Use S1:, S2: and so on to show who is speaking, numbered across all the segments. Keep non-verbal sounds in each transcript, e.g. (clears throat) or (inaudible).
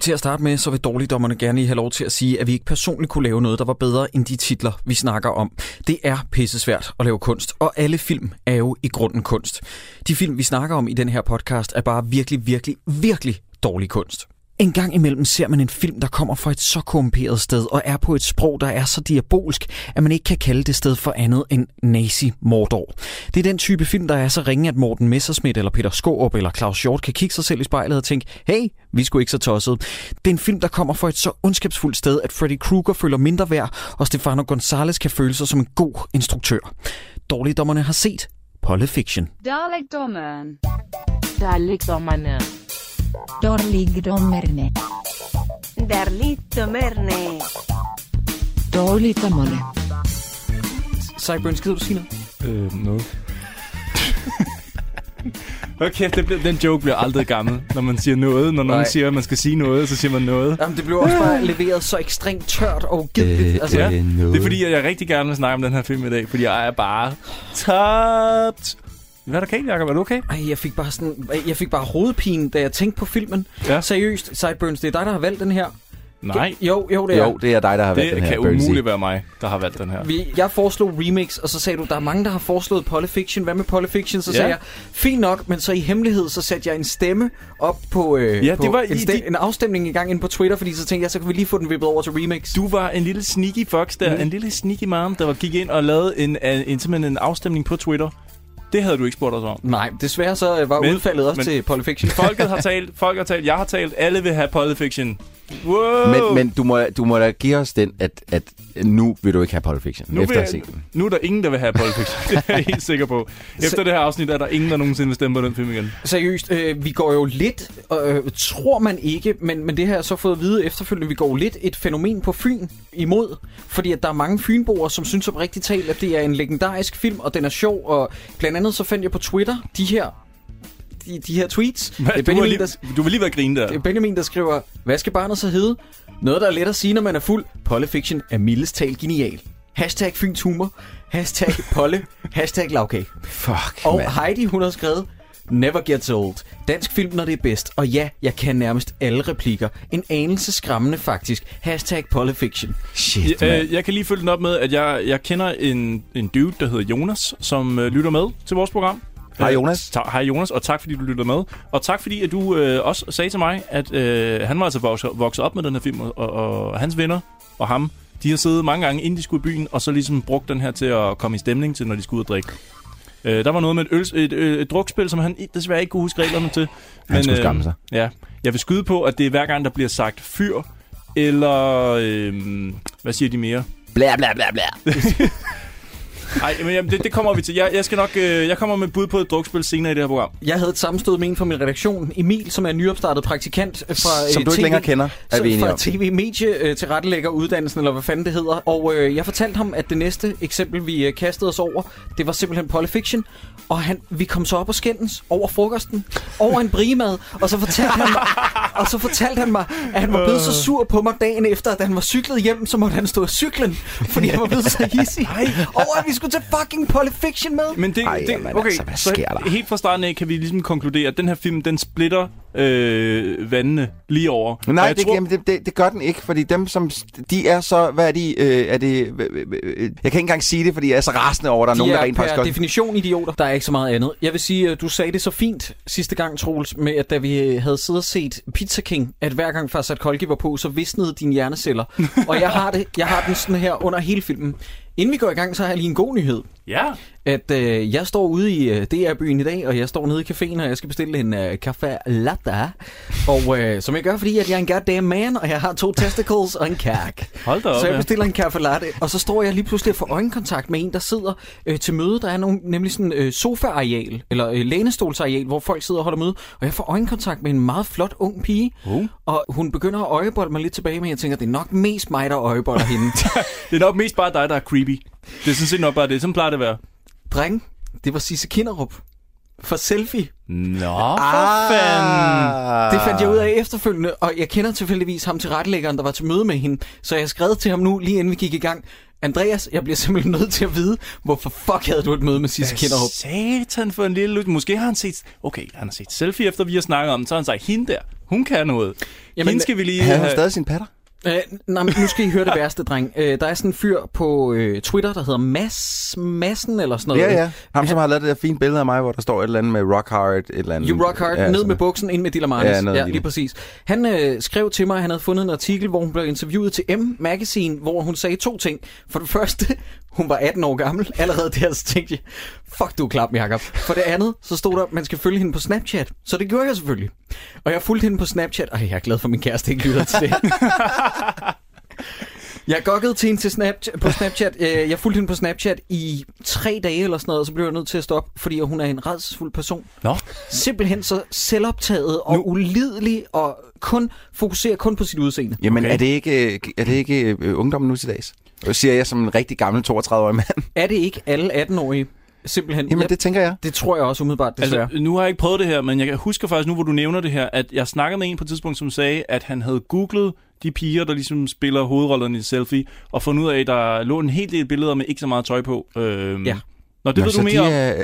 S1: Til at starte med, så vil dårligdommerne gerne lige have lov til at sige, at vi ikke personligt kunne lave noget, der var bedre end de titler, vi snakker om. Det er pissesvært at lave kunst, og alle film er jo i grunden kunst. De film, vi snakker om i den her podcast, er bare virkelig, virkelig, virkelig dårlig kunst. En gang imellem ser man en film, der kommer fra et så korrumperet sted og er på et sprog, der er så diabolsk, at man ikke kan kalde det sted for andet end nazi-mordor. Det er den type film, der er så ringe, at Morten Messerschmidt eller Peter Skårup eller Claus Hjort kan kigge sig selv i spejlet og tænke, hey, vi skulle ikke så tossede. Det er en film, der kommer fra et så ondskabsfuldt sted, at Freddy Krueger føler mindre værd, og Stefano Gonzalez kan føle sig som en god instruktør. Dårligdommerne har set Polyfiction.
S2: Dalekdommeren.
S3: Der ligger man
S4: Dårligdommerne.
S5: Darligdommerne.
S3: dårligdommerne.
S1: Cyburn, skider du sige noget?
S6: Øh, noget. Hold kæft, det bliver, den joke bliver aldrig gammel, når man siger noget. Når nogen
S1: Nej.
S6: siger, at man skal sige noget, så siger man noget.
S1: Jamen, det blev også bare leveret så ekstremt tørt og ugideligt. Altså,
S6: Ja,
S1: ja.
S7: noget.
S6: Det er fordi, at jeg rigtig gerne vil snakke om den her film i dag, fordi jeg er bare tabt. Hvad er der galt, Jacob? Er du okay?
S1: Ej, jeg fik bare sådan, jeg fik bare hovedpine, da jeg tænkte på filmen.
S6: Ja.
S1: Seriøst, Sideburns, det er dig, der har valgt den her.
S6: Nej,
S1: Jo, jo, det er.
S7: Jo, det er dig, der har valgt
S6: det
S7: den her,
S6: kan
S7: Bernsey.
S6: umuligt være mig, der har valgt den her.
S1: Vi, jeg foreslog remix, og så sagde du, der er mange, der har foreslået Polyfiction. Hvad med Polyfiction? Så
S6: Ja.
S1: ja. sagde jeg, fint nok, men så i hemmelighed, så satte jeg en stemme op på, øh,
S6: Ja,
S1: på
S6: det var i
S1: en, stem-
S6: de-
S1: en afstemning i gang inde på Twitter, fordi så tænkte jeg, så kan vi lige få den vippet over til remix.
S6: Du var en lille sneaky fox der, mm.
S1: Mm.
S6: en lille sneaky mom, der var- gik ind og lavede en, en, en, simpelthen en afstemning på Twitter. Det havde du ikke spurgt os om.
S1: Nej, desværre så øh, var
S6: Men-
S1: men, udfaldet også
S6: men-
S1: men, til Polyfiction.
S6: Folket har talt, (laughs) folk har talt, jeg har talt, alle vil have Polyfiction. Wow!
S7: Men, men du, må, du må da give os den, at, at nu vil du ikke have Pulp Fiction,
S6: Nu
S7: nu efter
S6: vil
S7: at have
S6: jeg-
S7: set den.
S6: Nu er der ingen, der vil have Polyfiction. (laughs) det er jeg helt sikker på. Efter
S1: Så-
S6: det her afsnit er der ingen, der nogensinde vil stemme på den film igen.
S1: Seriøst, øh, vi går jo lidt, øh, tror man ikke, men, men det har jeg så fået at vide efterfølgende, vi går jo lidt et fænomen på Fyn imod, fordi at der er mange fynboer, som synes oprigtigt talt, at det er en legendarisk film, og den er sjov, og blandt andet så fandt jeg på Twitter de her, de, de her tweets.
S6: Hvad,
S1: det er
S6: (laughs) du, var
S1: Benjamin,
S6: lige,
S1: der, det
S6: du var lige ved at grine der.
S1: er Benjamin, der skriver, hvad skal barnet så hedde? Noget, der er let at sige, når man er fuld. Pollefiction er mildest talt genial. Hashtag Fyns humor. Hashtag
S7: (laughs)
S1: Polle. Hashtag lavkage.
S7: Fuck,
S1: Og
S7: mand.
S1: Heidi, hun har skrevet, Never gets old. Dansk film, når det er bedst. Og ja, jeg kan nærmest alle replikker. En anelse skræmmende faktisk. Hashtag Polyfiction.
S7: Shit,
S6: Ja,
S7: mand.
S6: øh, jeg kan lige følge den op med, at jeg, jeg kender en, en dude, der hedder Jonas, som øh, lytter med til vores program.
S7: Hej,
S6: Øh,
S7: Jonas.
S6: Ta- Hej Jonas, og tak fordi du lytter med. Og tak fordi, at du øh, også sagde til mig, at øh, han var altså vokset, vokset op med den her film, og, og, og hans venner og ham, de har siddet mange gange, inden de skulle i byen, og så ligesom brugt den her til at komme i stemning til, når de skulle ud og drikke. Øh, der var noget med et, øl, et, øh, et, et drukspil, som han i- desværre ikke kunne huske reglerne til. øh,
S7: Han skulle skamme sig.
S6: Ja, jeg vil skyde på, at det er hver gang, der bliver sagt fyr, eller... Øh, hvad siger de mere?
S7: Bla, bla, bla, bla.
S6: Nej, men jamen, det, det kommer vi til. Jeg, jeg skal nok... Øh, jeg kommer med et bud på et drukspil senere i det her program.
S1: Jeg havde et sammenstød med en fra min redaktion, Emil, som er en nyopstartet praktikant fra øh,
S7: Som du ikke
S1: TV
S7: længere kender, er
S1: som
S7: vi enige
S1: fra
S7: om.
S1: tv-medie øh, til rettelægger uddannelsen, eller hvad fanden det hedder. Og øh, jeg fortalte ham, at det næste eksempel, vi øh, kastede os over, det var simpelthen Polyfiction. Og han, vi kom så op og skændes over frokosten, over en brimad, og så fortalte han
S7: (laughs)
S1: mig, og så fortalte han mig, at han var blevet så sur på mig dagen efter, at han var cyklet hjem, så måtte han stå af cyklen, fordi han var blevet så hissig over, at vi skulle tage fucking Polyfiction med.
S6: Men det,
S7: Ej,
S6: det
S7: jamen, altså, hvad sker der?
S6: så, helt fra starten af kan vi ligesom konkludere, at den her film, den splitter øh, vandene lige over. Og
S7: Nej,
S6: jeg
S7: det, tror... jamen, det, det, det gør den ikke, fordi dem som, de er så, hvad er de, øh, er det, øh, øh, øh, jeg kan ikke engang sige det, fordi jeg er så rasende over, at der er nogen, der rent
S1: per
S7: faktisk godt...
S1: definition idioter. Der er ikke så meget andet. Jeg vil sige, at du sagde det så fint sidste gang, Troels, med at da vi øh, havde siddet og set Pizza King, at hver gang Farsat Kolki var på, så visnede dine (laughs) hjerneceller. og jeg har, det, jeg har den sådan her under hele filmen. Inden vi går i gang, så har jeg lige en god nyhed.
S6: Ja,
S1: At øh, jeg står ude i øh, DR-byen i dag, og jeg står nede i caféen, og jeg skal bestille en øh, café latte. Og øh, som jeg gør, fordi at jeg er en goddamn man, og jeg har to testicles og en kærk.
S6: hold da op.
S1: Så jeg
S6: ja.
S1: bestiller en kaffe latte, og så står jeg lige pludselig og får øjenkontakt med en, der sidder øh, til møde. Der er nogle, nemlig sådan øh, sofa-areal, eller øh, lænestolsareal, hvor folk sidder og holder møde. Og jeg får øjenkontakt med en meget flot ung pige,
S6: Uh.
S1: og hun begynder at øjebolle mig lidt tilbage, men jeg tænker, det er nok mest mig, der øjeboller hende.
S6: Det er nok mest bare dig, der er creepy. Det er sådan set nok bare det. Sådan plejer det at være.
S1: Dreng, det var Sisse Kinderup for selfie.
S6: Nå,
S7: Ah.
S6: for fanden.
S1: Det fandt jeg ud af efterfølgende, og jeg kender tilfældigvis ham til retlæggeren, der var til møde med hende. Så jeg skrev til ham nu, lige inden vi gik i gang. Andreas, jeg bliver simpelthen nødt til at vide, hvorfor fuck havde du et møde med Sisse Kinderup?
S6: Satan for en lille lykke. Måske har han set... Okay, han har set selfie, efter vi har snakket om den. Så har han sagt, hende der, Hun kan noget. Jamen,
S2: Jamen,
S6: Hende skal vi lige
S7: Havde hun
S6: have...
S7: stadig sin patter?
S1: Øh, nej, men nu skal I høre
S7: (laughs)
S1: det værste, dreng. Øh, der er sådan en fyr på øh, Twitter, der hedder Mass, Massen eller sådan noget.
S7: Ja, ja. Ham, som har lavet det der fine billede af mig, hvor der står et eller andet med rock hard, et eller andet.
S1: You rock hard, ja, ned
S7: sådan
S1: med
S7: noget.
S1: buksen, ind med Dillermanis.
S7: Ja, ned
S1: Ja,
S7: med
S1: ja,
S7: Dilla.
S1: lige præcis. Han øh, skrev til mig, at han havde fundet en artikel, hvor hun blev interviewet til M Magazine, hvor hun sagde to ting. For det første, (laughs) hun var 18 år gammel. Allerede der så tænkte jeg, fuck du er klam, Jacob. For det andet, så stod der, man skal følge hende på Snapchat. Så det gjorde jeg selvfølgelig. Og jeg fulgte hende på Snapchat. Ej, jeg er glad for, at min kæreste ikke lytter til det. Jeg gokkede til hende til Snapchat, på Snapchat. Øh, Jeg fulgte hende på Snapchat i tre dage eller sådan noget, og så blev jeg nødt til at stoppe, fordi hun er en redsfuld person.
S6: Nå.
S1: Simpelthen så selvoptaget og nu. ulidelig og kun fokuserer kun på sit udseende.
S7: Jamen,
S6: Okay.
S7: okay. er det ikke, øh, er det ikke øh, ungdommen nu til dags? Det siger jeg som en rigtig gammel 32-årig mand.
S1: Er det ikke alle 18-årige? Simpelthen. jeg,
S7: Jamen,
S1: det...
S7: det tænker jeg.
S1: det tror jeg også umiddelbart, desværre.
S6: Altså,
S1: Altså...
S6: nu har jeg ikke prøvet det her, men jeg husker faktisk nu, hvor du nævner det her, at jeg snakkede med en på et tidspunkt, som sagde, at han havde googlet de piger, der ligesom spiller hovedrollerne i selfie, og fundet ud af, at der lå en hel del billeder med ikke så meget tøj på. Øhm,
S1: Ja.
S6: Nå, det Nå, ved
S7: så
S6: du mere
S7: de
S6: om.
S7: er... Ej,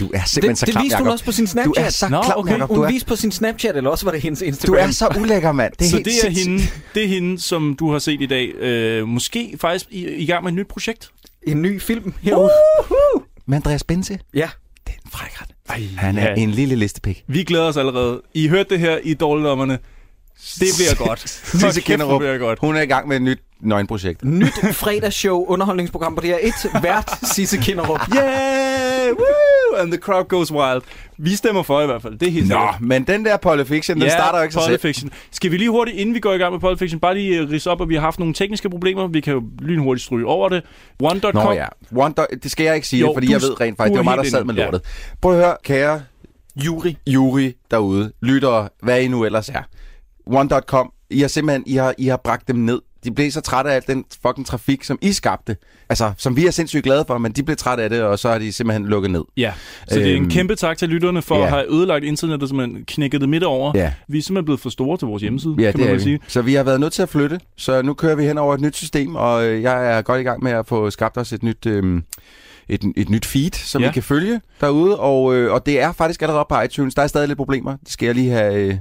S7: du er simpelthen
S1: Det,
S7: så
S1: det
S7: klam,
S1: viste hun
S7: Jacob.
S1: også på sin
S7: Du
S1: Snapchat.
S7: er så
S6: Nå,
S7: klam,
S6: okay.
S7: Jacob. Du
S1: Hun
S7: er,
S1: viste på sin Snapchat, eller også var det hendes
S7: du
S1: Instagram.
S7: er så ulækker, mand. Det er
S6: Så
S7: helt
S6: det er,
S7: sindssygt.
S6: hende, det er hende, som du har set i dag. Øh, måske faktisk i, i gang med et nyt projekt.
S1: En ny film
S7: Uh!
S1: herude.
S7: Men Andreas Bense,
S1: Ja.
S7: det er en frækret.
S6: Ej,
S7: Han er ja. en lille listepik.
S6: Vi glæder os allerede. I hørte det her i Dårligdommerne. Det
S7: (laughs)
S6: bliver godt. Hold
S7: Sisse
S6: kæft, det
S7: Kinderup,
S6: bliver godt.
S7: hun er i gang med et nyt nøgenprojekt.
S1: Nyt fredagsshow, underholdningsprogram på DR1. Vært Sisse Kinderup.
S6: Yeah! Woo! And the crowd goes wild. Vi stemmer for i hvert fald. Det er helt
S7: Nå,
S6: sikkert.
S7: men den der Polyfiction, den
S6: Ja,
S7: starter jo ikke sig
S6: Pulp
S7: selv.
S6: Fiction. Skal vi lige hurtigt, inden vi går i gang med Pulp Fiction, bare lige øh, ridse op, at vi har haft nogle tekniske problemer. Vi kan jo lynhurtigt stryge over det. One.com.
S7: Nå ja, One do- det skal jeg ikke sige,
S6: Jo,
S7: jo, fordi
S6: du-
S7: jeg ved rent faktisk,
S6: du
S7: det
S6: er
S7: var mig, der
S6: helt
S7: sad
S6: inde.
S7: med lortet. Prøv at høre, kære
S6: Jury.
S7: jury derude, lyttere, hvad I nu ellers er. One.com, I har simpelthen I har, I har bragt dem ned. De blev så trætte af al den fucking trafik, som I skabte. Altså, som vi er sindssygt glade for, men de blev trætte af det, og så har de simpelthen lukket ned.
S6: Ja, så det er en
S7: Øhm,
S6: kæmpe tak til lytterne for at
S7: ja.
S6: have ødelagt internettet, som man knækket det midt over.
S7: Ja.
S6: Vi er simpelthen blevet for store til vores hjemmeside,
S7: Mm. Ja,
S6: kan
S7: det
S6: man
S7: er
S6: vel
S7: vi.
S6: sige.
S7: Så vi har været nødt til at flytte, så nu kører vi hen over et nyt system, og øh, jeg er godt i gang med at få skabt os et nyt, øh, et, et nyt feed, som
S6: Ja.
S7: ja. I kan følge derude, og, øh, og det er faktisk allerede på iTunes. Der er stadig lidt problemer, det skal jeg lige have øh,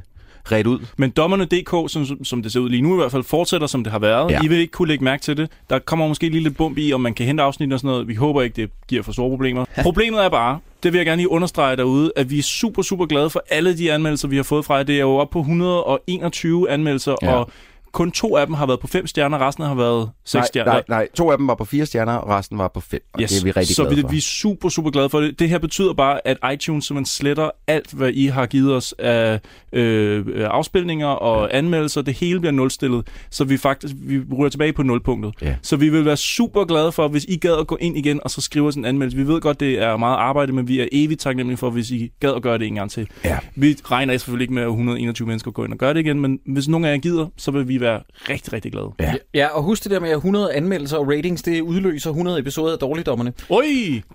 S7: ret ud.
S6: Men dommerne.dk, som, som det ser ud lige nu i hvert fald, fortsætter som det har været. Ja.
S7: Ja.
S6: I vil ikke kunne lægge mærke til det. Der kommer måske lige lidt bump i, om man kan hente afsnit og sådan noget. Vi håber ikke, det giver for store problemer. Problemet er bare, det vil jeg gerne lige understrege derude, at vi er super, super glade for alle de anmeldelser, vi har fået fra jer. Det er jo op på 121 anmeldelser, ja.
S7: Ja.
S6: og kun to af dem har været på fem stjerner, resten har været seks
S7: nej,
S6: stjerner.
S7: nej, nej, to af dem var på fire stjerner, og resten var på fem, og yes. det er vi rigtig
S6: så
S7: glade
S6: vi,
S7: for.
S6: vi er super, super glade for det. Det her betyder bare, at iTunes simpelthen sletter alt, hvad I har givet os af øh, øh, afspilninger og ja. anmeldelser. Det hele bliver nulstillet, så vi faktisk vi ryger tilbage på nulpunktet.
S7: Ja.
S6: Så vi vil være super glade for, hvis I gad at gå ind igen og så skrive os en anmeldelse. Vi ved godt, det er meget arbejde, men vi er evigt taknemmelige for, hvis I gad at gøre det en gang til.
S7: Ja.
S6: Vi regner selvfølgelig ikke med, at 121 mennesker går ind og gør det igen, men hvis nogen af jer gider, så vil vi være rigtig, rigtig glade.
S7: Ja.
S1: Ja, og husk det der med, at 100 anmeldelser og ratings, det udløser 100 episoder af Dårligdommerne.
S6: Oj!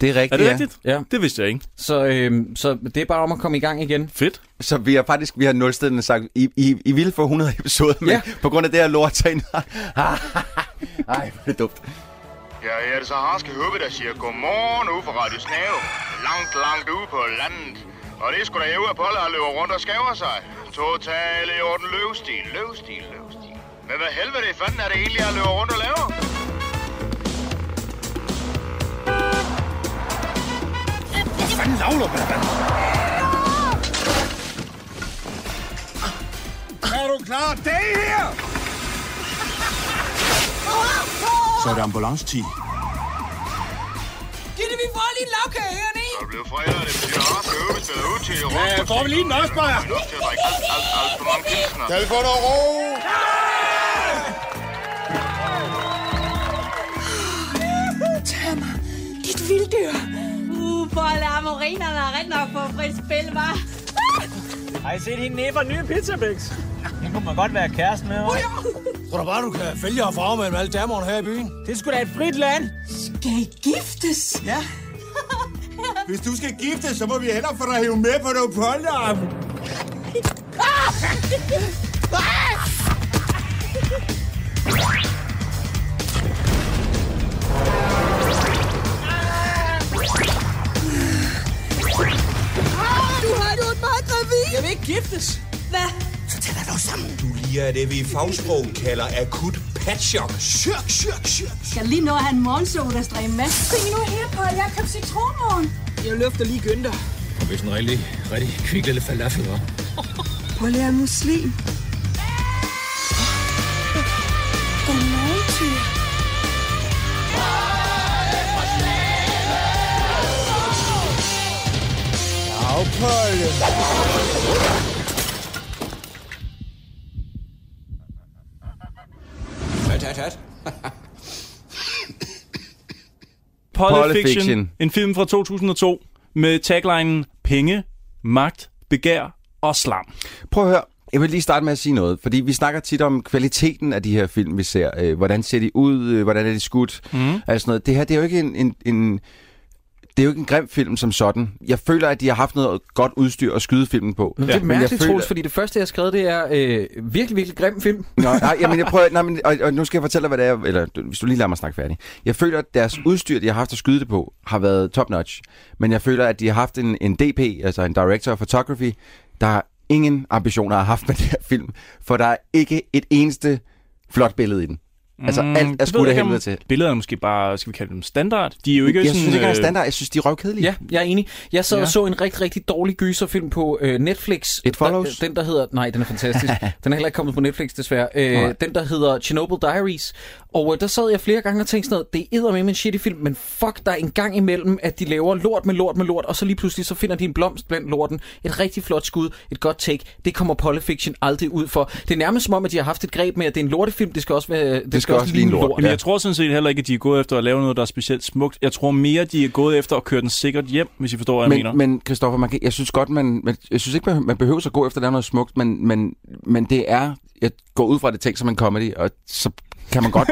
S7: Det er rigtigt,
S6: Er det
S7: ja.
S6: rigtigt?
S1: Ja.
S6: Det vidste jeg ikke.
S1: Så, øhm, så det er bare om at komme i gang igen.
S6: Fedt.
S7: Så vi har faktisk vi har nulstillende sagt, I, I, I ville få 100 episoder, men
S1: Ja.
S7: ja. på grund af det her lort, så er I... (laughs) Ej, hvor er det dumt.
S4: Ja, jeg er det så harske hubbe, der siger godmorgen ude fra Radio Snave. Langt, langt ude på landet. Og det er sgu da jeg ude af Polle, der løber rundt og skaver sig. Total i orden løvstil, løvstil, løvstil. Men hvad helvede i fanden er det egentlig, jeg løber rundt og laver? Så er det blevet fredag, det betyder harske hubbe spiller ud til rundt. Ja, får vi lige en nøgspejer? Nu til at drikke alt, alt, alt for mange pilsner.
S5: Kan vi få noget ro?
S8: Tag mig, dit vilddyr. Uh, bolle amorinerne er rigtig nok på frit spil, var.
S9: Har I set hende næber nye pizzabix? Den kunne man godt være kæreste med, hva'?
S5: Tror du bare, du kan fælge og farve med alle damerne her i byen?
S9: Det skulle da et frit land.
S8: Skal I giftes?
S5: Ja. Hvis du skal gifte, så må vi hellere få dig hævet med på noget polterarm.
S8: Du har nu en meget gravid. Jeg vil ikke giftes. Hvad? Så tæller
S5: hvad det, vi i fagsprog kalder akut patchok. Chok, chok, chok.
S8: Skal lige nå at have en morgensodastræm med. Kom nu her på, jeg har købt citronmorgen.
S9: Jeg løfter lige Günther.
S2: Hvis en rigtig, rigtig kvik lille falafel, hva'?
S8: Prøv lige en muslim. Godmorgen, Tyre.
S5: Afpolde. Hat, hat, hat.
S6: Polyfiction,
S7: Polyfiction.
S6: en film fra 2002 med taglinen Penge, magt, begær og slam.
S7: Prøv at høre. Jeg vil lige starte med at sige noget, fordi vi snakker tit om kvaliteten af de her film, vi ser. Øh, hvordan ser de ud? Øh, hvordan er de skudt? Mm. Altså noget. Det her, det er jo ikke en, en, en, det er jo ikke en grim film som sådan. Jeg føler, at de har haft noget godt udstyr at skyde filmen på.
S6: Ja,
S1: Det er
S6: men
S1: mærkeligt,
S7: jeg føler-
S1: Troels, fordi det første, jeg har skrevet, det er øh, virkelig, virkelig grim film.
S7: Nå, nej, jamen, jeg prøver, nej, men, og, og, nu skal jeg fortælle dig, hvad det er, eller du- hvis du lige lader mig snakke færdig. Jeg føler, at deres udstyr, de har haft at skyde det på, har været top-notch. Men jeg føler, at de har haft en, en DP, altså en Director of Photography, der ingen ambitioner har haft med det her film, for der er ikke et eneste flot billede i den. Altså
S6: Mm,
S7: alt er
S6: det ved
S7: skudt
S6: jeg
S7: af
S6: ikke, om
S7: helvede til.
S6: Billederne er måske bare, skal vi kalde dem standard? De er jo ikke
S7: jeg
S6: sådan...
S7: synes ikke,
S6: øh,
S7: han er standard. Jeg synes, de er røvkedelige.
S1: Ja, jeg er enig. Jeg sad ja.
S6: Ja.
S1: og så en rigtig, rigtig dårlig gyserfilm på øh, Netflix.
S7: It Follows?
S1: Der, den, der hedder... Nej, den er
S7: (laughs)
S1: fantastisk. den er heller ikke kommet på Netflix, desværre.
S7: Nej.
S1: Øh, den, der hedder Chernobyl Diaries. Og øh, der sad jeg flere gange og tænkte sådan noget, det er med en shitty film, men fuck, der er en gang imellem, at de laver lort med lort med lort, og så lige pludselig så finder de en blomst blandt lorten. Et rigtig flot skud, et godt take. Det kommer Polyfiction aldrig ud for. Det er nærmest som om, at de har haft et greb med, at det er en lortefilm. Det skal også, være, det
S7: skal også ligne lort.
S6: Jamen,
S7: Ja.
S6: ja. jeg tror sådan set heller ikke, at de er gået efter at lave noget, der er specielt smukt. Jeg tror mere, de er gået efter at køre den sikkert hjem, hvis I forstår, hvad jeg mener.
S7: Men, men Christoffer, man kan, jeg synes godt, man, man, jeg synes ikke, man, man behøver at gå efter at lave noget smukt, men, men, men det er, jeg går ud fra at det er tænkt som en comedy, og så
S6: (laughs)
S7: kan man godt,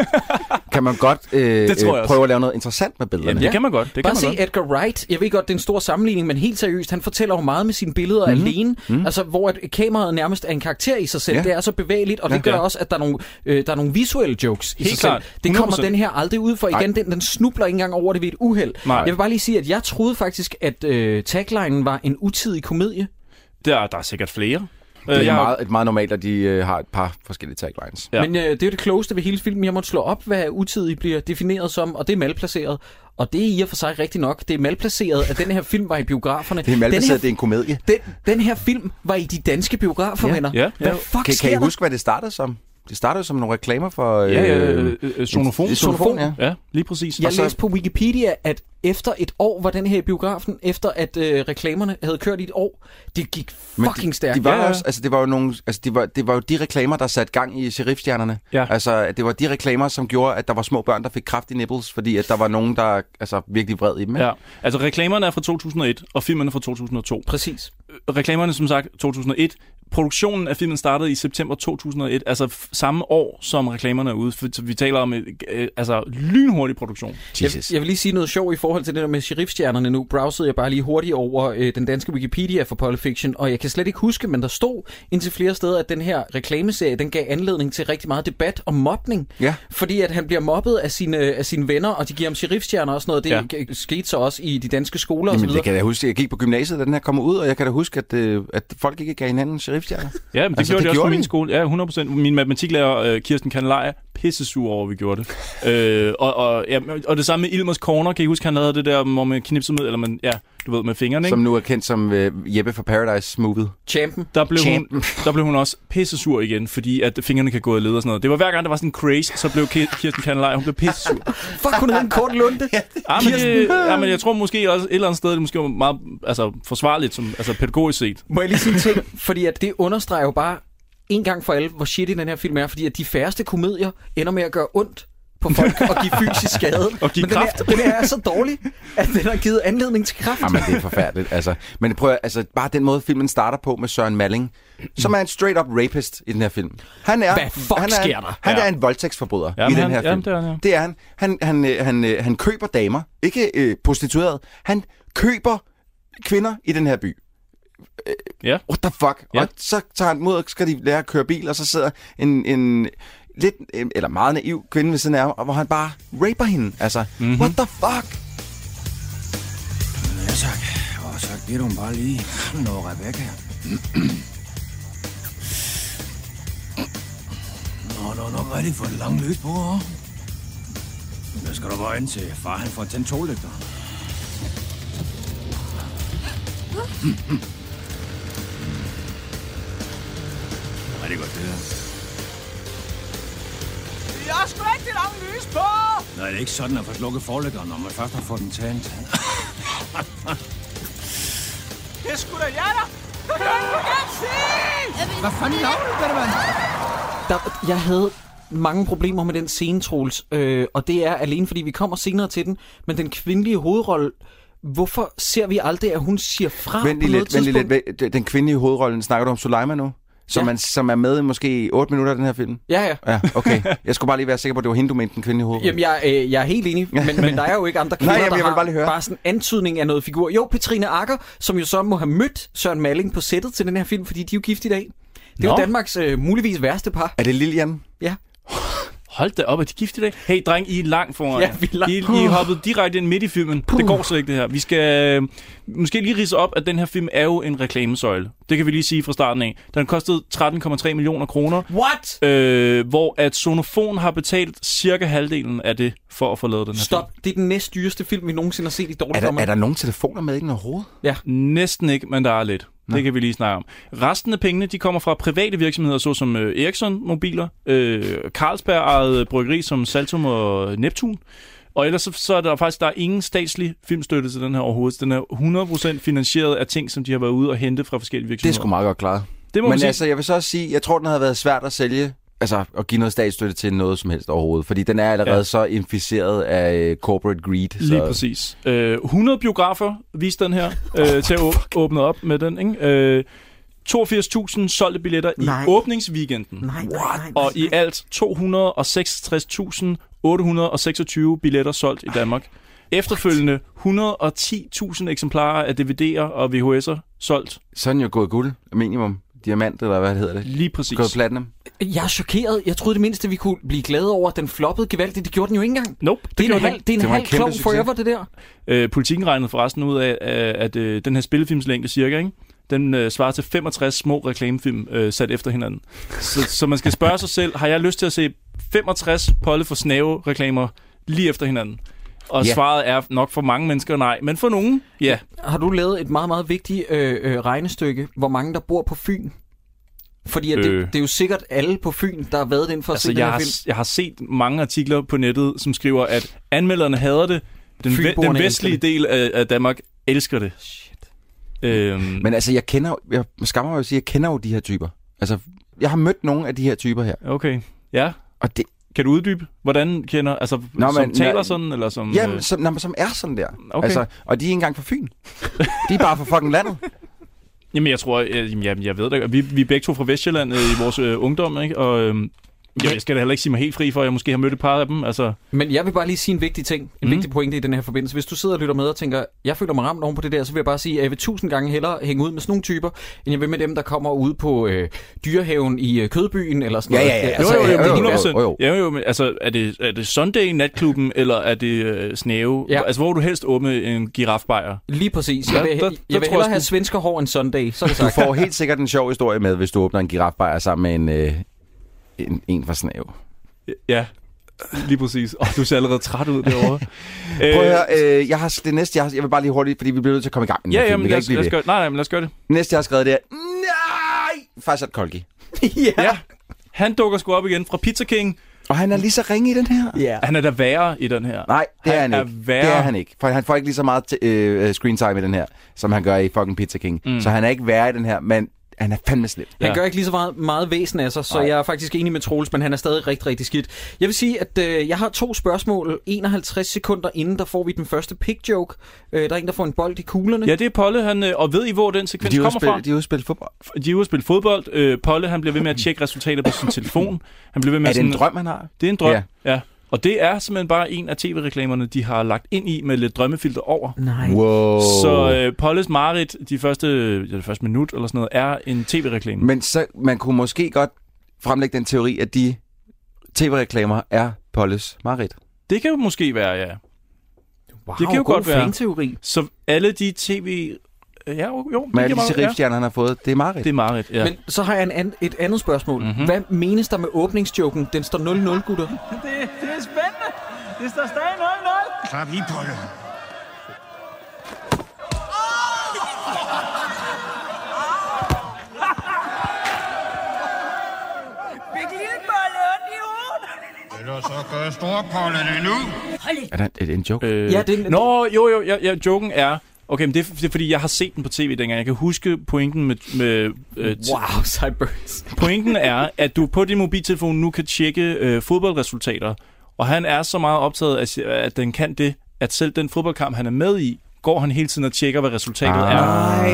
S7: kan man godt øh,
S6: Det tror jeg
S7: øh,
S6: også.
S7: prøve at lave noget interessant med billederne.
S6: Jamen, det kan man godt. Det kan
S1: Bare
S6: man
S1: se
S6: godt.
S1: Edgar Wright. Jeg ved godt, det er en stor sammenligning, men helt seriøst, han fortæller jo meget med sine billeder mm.
S6: Mhm.
S1: alene. Mm. Altså, hvor at kameraet nærmest er en karakter i sig selv.
S7: Ja.
S1: Ja. Det er så bevægeligt, og det
S6: Ja.
S1: gør også, at der er nogle, øh, der er nogle visuelle jokes i
S6: Helt
S1: sig
S6: klart.
S1: selv. Det kommer
S6: 100%.
S1: den her aldrig ud for. Igen, den, den snubler ikke engang over det ved et uheld.
S6: Nej.
S1: Jeg vil bare lige sige, at jeg troede faktisk, at øh, taglinen var en utidig komedie.
S6: Der, der er sikkert flere.
S7: Det
S6: Øh,
S7: er
S6: jeg har-
S7: meget, et meget normalt, at de øh, har et par forskellige taglines.
S6: Ja.
S1: Ja. Men øh, det er jo det klogeste ved hele filmen. Jeg måtte slå op, hvad utidig bliver defineret som, og det er malplaceret. Og det er i og for sig rigtigt nok. Det er malplaceret, at den her film var i biograferne.
S7: Det er
S1: Den
S7: malplaceret,
S1: her
S7: det er en komedie.
S1: Den, den her film var i de danske biografer,
S7: Ja.
S1: ja. venner.
S6: Ja, ja.
S1: Hvad fuck
S7: Kan,
S1: sker
S7: kan I
S1: der?
S7: huske, hvad det startede som? Det startede som nogle reklamer for... Øh,
S6: Ja, ja, øh, øh, Sonofon.
S7: en- Sonofon, ja.
S6: Ja, lige præcis.
S1: Jeg
S6: Og så-
S1: læste på Wikipedia, at efter et år var den her i biografen, efter at øh, reklamerne havde kørt i et år. Det gik
S7: Men
S1: fucking
S7: de,
S1: stærkt.
S7: De var
S6: Ja, ja.
S7: også, altså det var jo nogle, altså det var, det var jo de reklamer, der satte gang i sheriffstjernerne.
S6: Ja.
S7: Altså at det var de reklamer, som gjorde, at der var små børn, der fik kraftige nipples, fordi at der var nogen, der altså virkelig vred i dem. ikke?
S6: Ja, altså reklamerne er fra 2001, og filmen er fra 2002.
S1: Præcis.
S6: Reklamerne, som sagt, 2001. Produktionen af filmen startede i september 2001, altså f- samme år, som reklamerne er ude. For, så vi taler om et, øh, altså lynhurtig produktion.
S1: Jeg, jeg vil lige sige noget sjovt i forhold til det der med sheriffstjernerne nu. Browsede jeg bare lige hurtigt over øh, den danske Wikipedia for Pulp Fiction, og jeg kan slet ikke huske, men der stod indtil flere steder, at den her reklameserie, den gav anledning til rigtig meget debat om mobning.
S7: Ja.
S1: Fordi at han bliver mobbet af sine, af sine venner, og de giver ham sheriffstjerner og sådan noget. Det ja. skete så også i de danske skoler og så
S7: Jamen,
S1: videre.
S7: det kan jeg da huske. Jeg gik på gymnasiet, da den her kom ud, og jeg kan da huske, at, øh, at folk ikke gav hinanden sheriffstjerner.
S6: Ja, men det altså,
S7: Altså,
S6: gjorde
S7: det
S6: det, også
S7: gjorde
S6: på
S7: de.
S6: min skole. Ja, 100%. Min matematiklærer, øh, Kirsten Kandelej, pissesur over, at vi gjorde det. (laughs) øh, og, og, ja, og det samme med Ilmers Corner. Kan I huske, han havde det der, hvor man knipsede med, eller man, ja, du ved, med fingrene, ikke?
S7: som nu er kendt som øh, Jeppe fra Paradise-movet.
S1: Champen.
S6: der blev,
S7: Champen.
S6: hun, der blev hun også pissesur igen, fordi at fingrene kan gå i led og sådan noget. Det var hver gang, der var sådan en craze, så blev Ki- Kirsten Kandelej, hun blev pissesur.
S1: Fuck, hun hed en kort lunde.
S6: Ja, Ah, men, det, ja, men jeg tror måske også et eller andet sted, det måske var meget altså, forsvarligt, som, altså pædagogisk set.
S1: Må jeg lige sige en ting? Fordi at det understreger jo bare en gang for alle, hvor shit i den her film er. Fordi at de færreste komedier ender med at gøre ondt på folk og give fysisk
S7: (laughs)
S1: skade.
S6: Og give
S1: Men den her-
S6: kræft.
S1: Den her er så dårlig, at den har givet anledning til kraft.
S7: Jamen, det er forfærdeligt. Altså. Men prøv at- altså, bare den måde, filmen starter på med Søren Malling, som er en straight-up rapist i den her film. Han er,
S1: Hvad fuck
S7: han er,
S1: sker
S7: en,
S1: der?
S7: Han
S6: Ja.
S7: er en voldtægtsforbryder i
S6: Jamen,
S7: den
S6: han-
S7: her film.
S6: jamen, det er han, ja.
S7: det er han. Han, han, øh, han, øh, han køber damer, ikke øh, prostitueret. Han køber kvinder i den her by.
S6: Ja.
S7: What the fuck? Ja.
S6: Ja.
S7: Og så tager han dem ud, og skal de lære at køre bil, og så sidder en, en lidt, øh, eller meget naiv kvinde ved siden af ham, og hvor han bare raper hende. Altså,
S6: Mhm.
S7: mm-hmm. what the fuck?
S2: Ja tak. Og så giver du mig bare lige noget Rebecca. Nå, nå, nok rigtig for det lange løs på, hva'? Hvad skal du bare ind til? Far, han får tændt toglygter. Rigtig godt, det der.
S9: Jeg har sgu da ikke det lange lys på!
S2: Nej, det er ikke sådan at få slukket forlygteren, når man først har fået den tændt.
S9: Det er sgu da jeg, der! Jeg kan ikke engang se!
S5: Hvad fanden laver du, Benjamin?
S1: Der, jeg havde mange problemer med den scene, Troels, øh, og det er alene, fordi vi kommer senere til den, men den kvindelige hovedrolle, hvorfor ser vi aldrig, at hun siger
S6: Ah,
S1: fra
S7: Vent
S1: på
S7: lige
S1: noget
S7: lidt, vent lige lidt.
S1: tidspunkt?
S7: Vent- Den kvindelige hovedrollen, snakker du om Suleima nu? Som,
S1: Ja.
S7: man, som er med i måske 8 minutter af den her film?
S1: Ja, ja.
S7: Ja, okay.
S6: (laughs)
S7: Jeg skulle bare lige være sikker på, at det var hende, du mente, den kvindelige hovedrolle.
S1: Jamen, jeg, øh, jeg er helt enig, men, men der er jo ikke andre
S7: (laughs)
S1: kvinder,
S7: Mm. jamen,
S1: der
S7: jeg vil
S1: har
S7: bare lige høre.
S1: bare sådan en antydning af noget figur. Jo, Petrine Akker, som jo så må have mødt Søren Malling på sættet til den her film, fordi de er jo gift i dag. Det er jo
S6: Nå.
S1: Danmarks øh, muligvis værste par.
S7: Er det Lilian?
S6: Hold da op, er de gift i dag? Hey, dreng, I er langt foran.
S1: Ja, vi er langt.
S6: I, I er hoppet direkte ind midt i filmen. Puh. Det går slet ikke, det her. Vi skal øh, måske lige rise op, at den her film er jo en reklamesøjle. Det kan vi lige sige fra starten af. Den kostede 13,3 millioner kroner,
S1: What?
S6: øh, hvor at Sonofon har betalt cirka halvdelen af det for at få lavet den her
S1: Stop. Det er den næst dyreste film, vi nogensinde har set i
S7: Er
S1: dårlig
S7: der,
S1: format.
S7: er der nogen telefoner med i den overhovedet?
S6: film. Næsten ikke, men der er lidt. Det kan vi lige snakke om. Resten af pengene, de kommer fra private virksomheder, såsom øh, Ericsson Mobiler, øh, Carlsberg ejet bryggeri som Saltum og Neptun. Og ellers så, så er der faktisk der er ingen statslig filmstøtte til den her overhovedet. Den er 100% finansieret af ting, som de har været ude og hente fra forskellige
S7: Det er
S6: virksomheder.
S7: sgu meget godt klaret.
S6: det må man
S7: Men
S6: sige.
S7: altså, jeg vil så også sige, jeg tror, den havde været svært at sælge, altså at give noget statsstøtte til noget som helst overhovedet, fordi den er allerede ja.
S6: Ja.
S7: så inficeret af øh, corporate greed. Så.
S6: Lige præcis. Øh, 100 biografer viste den her
S1: (laughs)
S6: øh, til at å- åbne op med den. Ikke? Øh, 82.000 solgte billetter
S1: Nej.
S6: i åbningsweekenden.
S1: Nej, nej, nej,
S6: Og i alt 266.826 billetter solgt i Danmark. Efterfølgende 110.000 eksemplarer af DVD'er og VHS'er solgt.
S7: Så er den jo gået guld, minimum. Diamant, eller hvad hedder det?
S6: Lige præcis.
S7: Gået platinum.
S1: Jeg er chokeret. Jeg troede det mindste, vi kunne blive glade over, at den floppede gevaldigt. Det gjorde den jo ikke engang.
S6: Nope,
S1: Det, det er
S6: gjorde
S1: en
S6: den
S1: halv, det er en
S7: Det var en
S1: halv
S7: kæmpe
S1: klon
S7: succes.
S1: forever, det der.
S6: Øh, politikken regnede forresten ud af, at, at øh, den her spillefilmslængde cirka, ikke? den øh, svarer til 65 små reklamefilm øh, sat efter hinanden. Så, så man skal spørge sig selv, har jeg lyst til at se 65 Polde for Snæve reklamer lige efter hinanden? Og
S7: Ja.
S6: yeah. svaret er nok for mange mennesker nej, men for nogen, ja.
S1: Har du lavet et meget, meget vigtigt øh, øh, regnestykke, hvor mange der bor på Fyn? Fordi at øh.
S6: Øh.
S1: det, det er jo sikkert alle på Fyn, der har været ind for at
S6: Altså,
S1: se den
S6: jeg
S1: her
S6: har,
S1: film.
S6: jeg har set mange artikler på nettet, som skriver, at anmelderne hader det, den, ve- den
S1: Fynboerne
S6: vestlige
S1: elsker
S6: del af, af Danmark elsker det. Shit. Øhm,
S7: Men altså, jeg kender jo- jeg skammer mig jo at sige, jeg kender jo de her typer. Altså, jeg har mødt nogle af de her typer her.
S6: okay, ja.
S7: Og det,
S6: Kan du uddybe, hvordan kender, altså
S7: Nå,
S6: Nå, som
S7: men-
S6: men, taler
S7: nej.
S6: sådan, eller som... øh,
S7: jamen, som, nej, men som er sådan der.
S6: Mm. Okay.
S7: Altså, og de er ikke engang fra Fyn. De er bare fra fucking landet.
S6: Jamen, jeg tror, jeg, jamen, jeg ved det godt. vi, vi er begge to fra Vestjylland øh, i vores øh, ungdom, ikke? Og øhm, jeg, jeg skal da heller ikke sige mig helt fri for, at jeg måske har mødt et par af dem. Altså,
S1: Men jeg vil bare lige sige en vigtig ting, en mm.
S6: Mm.
S1: vigtig pointe i den her forbindelse. Hvis du sidder og lytter med og tænker, jeg føler mig ramt oven på det der, så vil jeg bare sige, at jeg vil tusind gange hellere hænge ud med sådan nogle typer, end jeg vil med dem, der kommer ud på øh, dyrehaven i øh, Kødbyen eller sådan
S7: Ja,
S1: noget.
S7: ja, ja.
S1: Altså,
S7: Jo, jo,
S1: det
S7: jo,
S1: er
S7: jo,
S1: helt
S7: jo.
S1: værd.
S6: 100%. Ja, jo, jo, men altså, er det, er det Sunday i natklubben, (laughs) eller er det øh, snæve?
S1: Ja.
S6: Ja. Altså, hvor vil du helst åbne en girafbejer?
S1: Lige præcis. Jeg
S6: Ja,
S1: vil,
S6: der-
S1: jeg,
S6: der
S1: jeg vil
S6: tror jeg
S1: hellere
S6: sgu-
S1: have svensker hår end Sunday,
S6: (laughs)
S1: så er det
S7: Du
S1: sagt.
S7: får helt sikkert en sjov historie med, hvis du åbner en girafbejer sammen med en, øh, en, en fra Snav.
S6: Ja, lige præcis. Og oh, du ser allerede træt ud derovre.
S7: (laughs) Prøv at høre, øh, jeg har, det næste, jeg, har, jeg vil bare lige hurtigt, fordi vi bliver nødt til at komme i gang. med den her
S6: Ja,
S7: film.
S6: jamen,
S7: Vi kan
S6: lad os,
S7: ikke blive
S6: lad os
S7: ved.
S6: gøre, nej, nej, men lad os gøre det.
S7: Næste, jeg har skrevet, det er... Nej! Farsat Kolki.
S1: ja.
S6: Ja. Han dukker sgu op igen fra Pizza King.
S7: Og han er lige så ringe i den her.
S1: ja.
S6: Han er da værre i den her.
S7: Nej, det
S6: Han
S7: er
S6: er
S7: han ikke.
S6: værre.
S7: Det er han ikke. For han får ikke lige så meget t- øh, screen time i den her, som han gør i fucking Pizza King. Mm. Så han er ikke værre i den her, men han er fandme slip.
S1: Han
S6: Ja.
S1: gør ikke lige så meget, meget væsen af sig, så
S7: Nej.
S1: Nej. jeg er faktisk enig med Troels, men han er stadig rigtig, rigtig skidt. Jeg vil sige, at øh, jeg har to spørgsmål. 51 sekunder inden, der får vi den første pick joke. Øh, der er en, der får en bold i kuglerne.
S6: Ja, det er Polle, han, øh, og ved I, hvor den sekvens
S7: De er ude at
S6: kommer fra?
S7: spille- de er ude at spille fodbold.
S6: De er ude at spille fodbold. Øh, Polle, han bliver ved med at tjekke resultater på
S7: (laughs)
S6: sin telefon. Han bliver ved med
S7: Er
S6: at
S7: det en
S6: sådan-
S7: drøm, han har?
S6: Det er en drøm,
S7: Ja.
S6: ja. ja. Og det er simpelthen bare en af tv-reklamerne, de har lagt ind i med lidt drømmefilter over.
S1: Nej.
S7: Wow.
S6: Så øh, Polles Marit, de første, ja, det første minut eller sådan noget, er en tv-reklame.
S7: Men så, man kunne måske godt fremlægge den teori, at de tv-reklamer er Polles Marit.
S6: Det kan jo måske være, ja.
S1: Wow,
S6: det kan jo
S1: god
S6: godt være.
S1: fanteori.
S6: Så alle de tv Ja, jo, jo
S7: med
S6: det,
S7: alle
S6: giver
S7: de
S6: meget- ja.
S7: serifstjerner, han har fået. Det er meget
S6: det er Marit. Ja. Mhm.
S1: Men så har jeg en an, et andet spørgsmål. Mm-hmm. Hvad menes der med åbningsjoken? Den står 0-0, gutter.
S9: Det, det er spændende. Det står stadig 0-0.
S2: Klap i på det.
S8: Fik lille bolle ondt i hovedet.
S4: Ellers så gør Storkolde det nu.
S7: Er der en, en joke?
S6: Øh,
S1: Ja, det er-
S6: Nå, jo, jo, ja, ja, joken er... Okay, men det er, det er fordi, jeg har set den på tv dengang. Jeg kan huske pointen med... med øh, t-
S1: (laughs) Wow, Cyburns.
S6: Pointen er, at du på din mobiltelefon nu kan tjekke øh, fodboldresultater. Og han er så meget optaget af, at den kan det, at selv den fodboldkamp, han er med i, går han hele tiden og tjekker, hvad resultatet ah.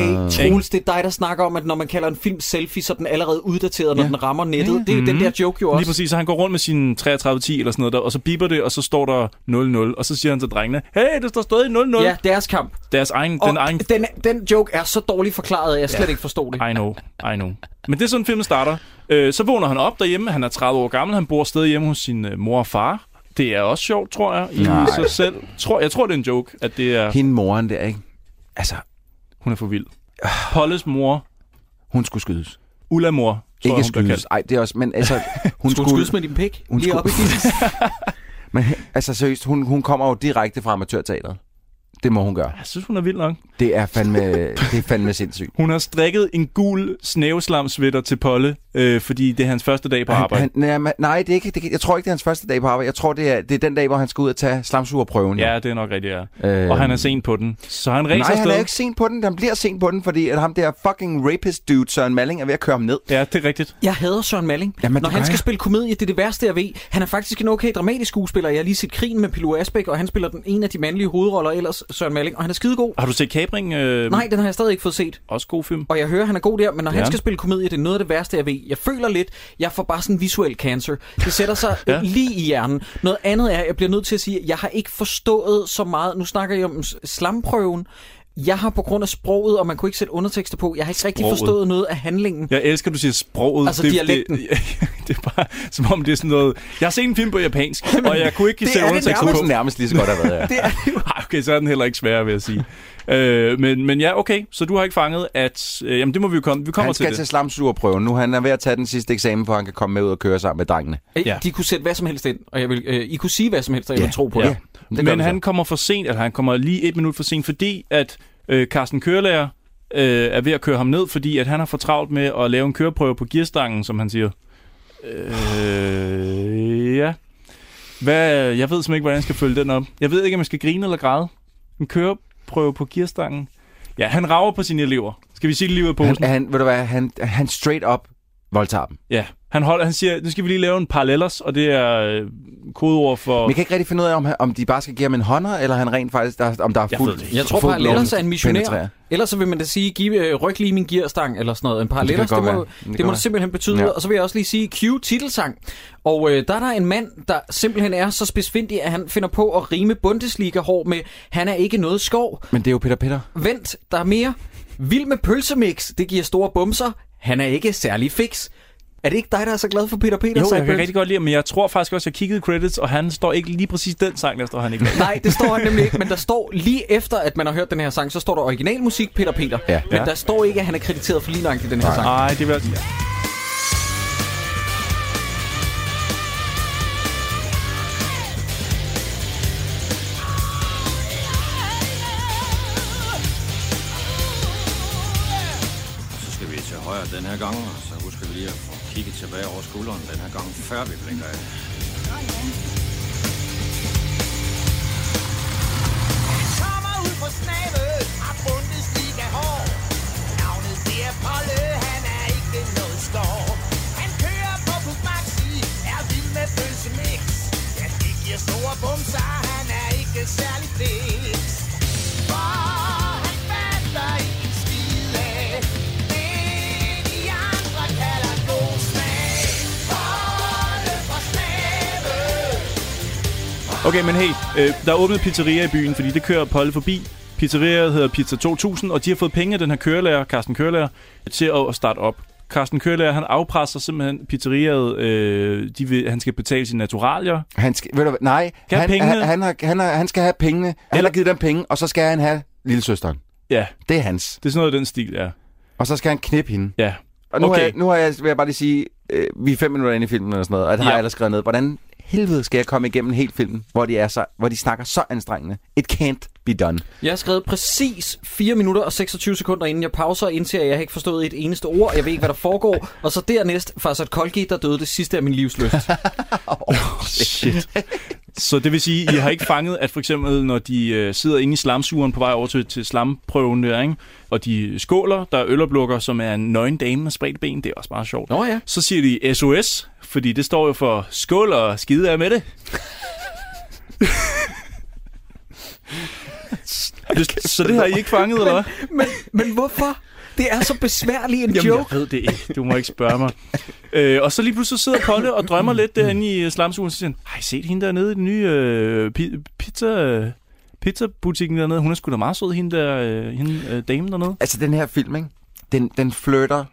S6: er.
S1: Nej, Troels, det er dig, der snakker om, at når man kalder en film selfie, så er den allerede uddateret, når ja. den rammer nettet. Det er mm. den der joke jo
S6: Mhm. Lige
S1: også.
S6: præcis, så han går rundt med sin 3310 eller sådan noget der, og så biber det, og så står der 0-0, og så siger han til drengene, hey, det står stadig 0-0.
S1: Ja, deres kamp.
S6: Deres egen,
S1: Og
S6: den egen
S1: den, den joke er så dårligt forklaret, at jeg slet ja. ikke forstod det.
S6: I know, I know. Men det er sådan, filmen starter. Øh, så vågner han op derhjemme. Han er 30 år gammel. Han bor stadig hjemme hos sin øh, mor og far. Det er også sjovt, tror jeg, i Nej. sig selv. Tror, jeg tror, det er en joke, at det er,
S7: Hende moren der, ikke? Altså,
S6: hun er for vild. Polles mor,
S7: hun skulle skydes.
S6: Ulla mor, tror
S7: Ikke
S6: jeg, hun bliver
S7: skydes.
S6: kaldt.
S7: Nej, det er også...
S6: (laughs)
S7: Men altså,
S1: Skulle
S7: hun skulle...
S1: skydes med din pik?
S7: Hun
S1: Lige
S7: skulle-
S1: op i dit.
S7: (laughs) Men altså, seriøst, hun, hun kommer jo direkte fra amatørteateret. Det må hun gøre.
S6: Jeg synes, hun er vild nok.
S7: Det er fandme, det er fandme sindssygt.
S6: Hun har strikket en gul snæveslamsvitter til Polle, øh, fordi det er hans første dag på arbejde.
S7: Han, nej, men- nej, det er ikke, det, kan- jeg tror ikke, det er hans første dag på arbejde. Jeg tror, det er, det er den dag, hvor han skal ud og tage slamsugerprøven.
S6: Ja, det er nok rigtigt, ja.
S7: Øhm.
S6: Og han er sent på den. Så han
S7: Nej,
S6: racer
S7: han er
S6: afsted.
S7: ikke sent på den. Han bliver sent på den, fordi at ham der fucking rapist dude, Søren Malling, er ved at køre ham ned.
S6: Ja, det er rigtigt.
S1: Jeg hader Søren Malling.
S7: Jamen, det
S1: Når
S7: gør
S1: han skal
S7: jeg.
S1: spille komedie, det er det værste, jeg ved. Han er faktisk en okay dramatisk skuespiller. Jeg har lige set Krigen med Pilo Asbæk, og han spiller den ene af de mandlige hovedroller ellers, Søren Malling. Og han er skidegod.
S6: Har du set Kabring? Øh,
S1: Nej, den har jeg stadig ikke fået set.
S6: Også god film.
S1: Og jeg hører, han er god der, men når ja.
S6: Ja.
S1: han skal spille komedie, det er noget af det værste, jeg ved. Jeg føler lidt, jeg får bare sådan visuel cancer. Det sætter sig
S6: Ja.
S1: ja. lige i hjernen. Noget andet er, jeg bliver nødt til at sige, at jeg har ikke forstået så meget. Nu snakker jeg om s- slamprøven. Jeg har på grund af sproget, og man kunne ikke sætte undertekster på, jeg har ikke rigtig
S6: Sproget.
S1: forstået noget af handlingen.
S6: Jeg elsker, at du siger sproget.
S1: Altså dialekten.
S6: Det, (laughs) det er bare, som om det er sådan noget... Jeg har set en film på japansk,
S7: (laughs)
S6: og jeg kunne ikke
S7: Det
S6: sætte
S7: er det
S6: undertekster
S7: nærmest,
S6: på.
S7: nærmest lige så godt, der
S6: (laughs)
S7: har været. ja.
S6: Ej, okay, så er den heller ikke svær, vil jeg sige. Øh, men, men ja, okay, så du har ikke fanget, at... Øh, jamen, det må vi jo komme... Vi kommer
S7: Han
S6: til
S7: skal
S6: det.
S7: til slamsugerprøven. Nu han er ved at tage den sidste eksamen, for han kan komme med ud og køre sammen med drengene.
S6: Ja.
S1: Ja. De kunne sætte hvad som helst ind, og jeg vil, øh, I kunne sige hvad som helst, og jeg
S7: Ja.
S1: ville tro på
S7: Ja.
S1: det.
S7: Det gør
S6: Men
S7: vi så.
S6: han kommer for sent, eller han kommer lige et minut for sent, fordi at øh, Carsten Kørlærer øh, er ved at køre ham ned, fordi at han har for travlt med at lave en køreprøve på gearstangen, som han siger. Øh, ja. Hvad, jeg ved simpelthen ikke, hvordan jeg skal følge den op. Jeg ved ikke, om jeg skal grine eller græde. En køreprøve på gearstangen. Ja, han rager på sine elever. Skal vi sige det lige ud af posen?
S7: Han, han, ved du hvad, han, han straight up voldtager dem.
S6: Ja. Han, holder, han siger, nu skal vi lige lave en parallellers, og det er øh, kodeord for...
S7: Men jeg kan ikke rigtig finde ud af, om, han- om de bare skal give ham en hånder, eller han rent faktisk, der, om der er
S6: Jeg ved det
S7: fuldt
S6: ikke.
S1: Jeg tror,
S7: fuldt
S1: parallellers
S7: blown
S1: er en missionær.
S7: penetrer.
S1: Ellers så vil man da sige, giv, øh, ryk lige min gearstang, eller sådan noget. En parallellers,
S7: godt
S1: det, det,
S7: være.
S1: må,
S7: Det kan
S1: det,
S7: godt
S1: må
S7: være.
S1: det simpelthen betyde.
S7: Ja.
S1: Ja. Og så vil jeg også lige sige, cue titelsang. Og øh, der er der en mand, der simpelthen er så spidsfindig, at han finder på at rime Bundesliga-hår med, han er ikke noget skov.
S7: Men det er jo Peter Peter.
S1: Vent, der er mere. Vild med pølsemix, det giver store bumser. Han er ikke særlig fix. Er det ikke dig, der er så glad for Peter Peter?
S6: Jo, jeg kan
S1: Seiburns?
S6: rigtig godt lide ham, men jeg tror faktisk også, jeg kiggede i credits, og han står ikke lige præcis den sang, der står han ikke med.
S1: Nej, det står han nemlig ikke, men der står lige efter, at man har hørt den her sang, så står der originalmusik Peter Peter.
S7: Ja.
S1: Men
S7: Ja.
S1: der står ikke, at han er krediteret for lige nøjagtigt den her sang.
S6: Nej, det vil jeg sige.
S2: Så skal vi til højre den her gang, og så husker vi lige at få kigget tilbage over skulderen den her gang, før vi blinker af.
S8: Kommer ud på snave, har Bundesliga hår. Navnet det er Polle, han er ikke noget skov. Han kører på Bug Maxi, er vild med pølsemix. Ja, det giver store bumser, han er ikke særlig fix. For han fatter ikke en skid af, det de andre kalder god smag. Polle fra snave,
S6: Okay, men hey, øh, der er åbnet pizzeria i byen, fordi det kører Polde forbi. Pizzeriaet hedder Pizza 2000, og de har fået penge af den her kørelærer, Carsten Kørelærer, til at at starte op. Carsten Kørelærer, han afpresser simpelthen pizzeriaet. Øh, de vil, han skal betale sine naturalier.
S7: Han skal, ved du, hvad, nej,
S6: Skal
S7: han,
S6: have
S7: han,
S6: pengene?
S7: han, har, han, har, han skal have pengene. Han
S6: Eller-
S7: har givet dem penge, og så skal han have lillesøsteren.
S6: Ja,
S7: Det er hans.
S6: det er sådan noget i den stil, ja.
S7: Og så skal han knippe hende.
S6: Ja,
S7: Og nu,
S6: Okay.
S7: okay. har jeg, nu har jeg, vil jeg bare lige sige, øh, vi er fem minutter inde i filmen eller sådan noget, og det har
S6: Ja.
S7: jeg ellers skrevet ned. Hvordan helvede skal jeg komme igennem helt filmen, hvor de, er så, hvor de snakker så anstrengende? It can't be done.
S1: Jeg har skrevet præcis 4 minutter og 26 sekunder, inden jeg pauser og indser, at jeg har ikke forstået et eneste ord. Jeg ved ikke, hvad der foregår. Og så dernæst, Farsad Kolgi, der døde det sidste af min livs lyst.
S6: Shit. Så det vil sige, I har ikke fanget, at for eksempel, når de øh, sidder inde i slamsugeren på vej over til, til slamprøven der, ikke? og de skåler, der er øloplukker, som er en nøgen dame med spredt ben, det er også bare sjovt.
S1: Nå ja.
S6: Så siger de SOS, fordi det står jo for skål og skide af med det. det så det har I ikke fanget, eller hvad?
S1: Men, men hvorfor? Det er så besværlig en
S6: Jamen,
S1: joke.
S6: jeg ved det ikke. Du må ikke spørge mig. øh, og så lige pludselig sidder Polle og drømmer lidt derinde i øh, slamsugen, og så siger han, har I set hende dernede i den nye øh, pi- pizza, pizzabutikken dernede? Hun er sgu da meget sød, hende, der, øh, hende øh, dame dernede.
S7: Altså, den her film, ikke? Den, den flytter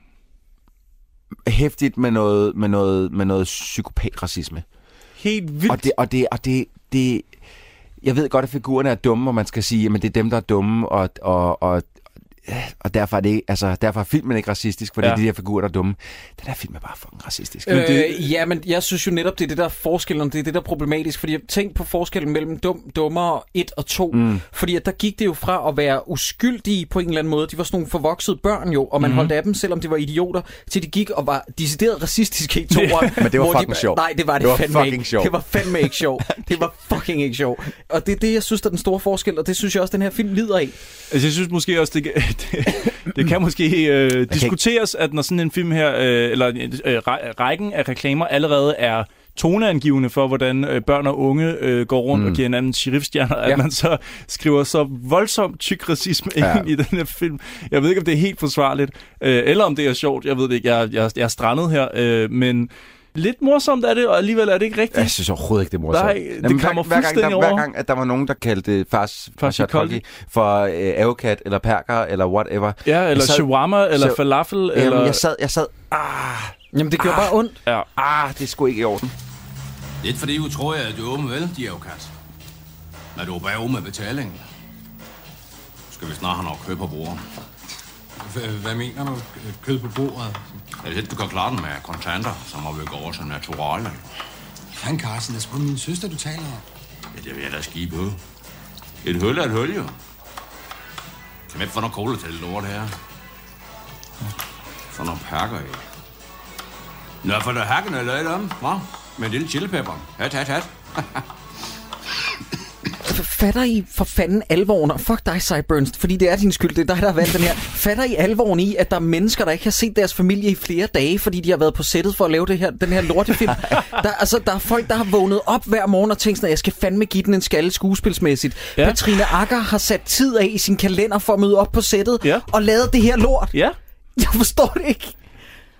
S7: hæftigt med noget, med noget, med noget psykopatracisme.
S6: Helt vildt.
S7: Og det, og det, og det, det, jeg ved godt, at figurerne er dumme, og man skal sige, at det er dem, der er dumme, og, og, og, og derfor, er det, ikke- altså, derfor er filmen ikke racistisk, fordi
S6: Ja.
S7: ja. de der figurer, der er dumme. Den her film er bare fucking racistisk.
S1: Øh,
S6: det-
S1: det... Ja, men jeg synes jo netop, det er det, der er forskellen, det er det, der er problematisk, fordi jeg tænkte på forskellen mellem dum, dummer 1 og 2, mm. fordi at der gik det jo fra at være uskyldige på en eller anden måde, de var sådan nogle forvoksede børn jo, og man mm. holdt af dem, selvom de var idioter, til de gik og var decideret racistiske i toeren.
S7: (laughs) Men det var
S1: hvor
S7: fucking
S1: bare-
S7: sjovt.
S1: Nej, det var det,
S7: Det var
S1: fandme
S7: fucking
S1: ikke.
S7: sjovt.
S1: Det var fandme ikke
S7: (laughs)
S1: sjovt. Det var fucking ikke sjovt. Og det er det, jeg synes, der er den store forskel, og det synes jeg også, den her film lider af.
S6: Altså, jeg synes måske også, det, kan- (laughs) det, det kan måske øh, diskuteres, at når sådan en film her, øh, eller øh, ræ- rækken af reklamer allerede er toneangivende for, hvordan øh, børn og unge øh, går rundt mm. og giver hinanden sheriffstjerner, ja. at man så skriver så voldsomt tyk racisme ja.
S7: Ja.
S6: ind i den her film. Jeg ved ikke, om det er helt forsvarligt, øh, eller om det er sjovt. Jeg ved det ikke. Jeg, jeg, jeg er strandet her, øh, men lidt morsomt er det, og alligevel er det ikke rigtigt.
S7: Jeg synes overhovedet ikke, det er morsomt.
S6: Nej, det kommer
S7: hver
S6: fuldstændig
S7: gang, der,
S6: over.
S7: Hver gang, at der var nogen, der kaldte fars
S6: Fars
S7: Farshad
S6: Kolgi.
S7: Kolgi for øh, avocat eller perker eller whatever.
S6: Ja, eller
S7: sad-
S6: shawarma, eller
S7: Altså, så-
S6: falafel,
S7: Eller...
S6: eller...
S7: Jamen, Øhm, jeg sad, jeg sad,
S1: Jamen, det gjorde bare ondt.
S6: ja.
S7: ah, det er sgu ikke i orden.
S2: Lidt fordi du tror jeg, at du er åben, vel, de er jo kat. Men du er bare åben med betalingen. Nu skal vi snart have noget kød på bordet.
S10: Hvad mener du? Kød på bordet?
S2: Hvis ikke du kan klare den med kontanter, så må vi gå over til naturale.
S10: Frank Carsten, det er sgu min søster, du taler om.
S2: Ja, det vil jeg da skive på. Et hul er et hul, jo. Kan man ikke få noget cola til det lort her? Få nogle pakker i. Nå, for der hakken er lavet om, hva? Med en lille chilipepper. Hat, hat, hat.
S1: fatter I for fanden alvoren, og fuck dig, Cyburns, fordi det er din skyld, det er dig, der har valgt den her. Fatter I alvoren i, at der er mennesker, der ikke har set deres familie i flere dage, fordi de har været på sættet for at lave det her, den her
S6: (laughs)
S1: lortefilm? Der, altså, der er folk, der har vågnet op hver morgen og tænkt sådan, at jeg skal fandme give den en skalle skuespilsmæssigt.
S6: Ja.
S1: Ja. Patrine Akker har sat tid af i sin kalender for at møde op på sættet
S6: Ja.
S1: og lavet det her lort.
S6: Ja.
S1: Jeg forstår det ikke.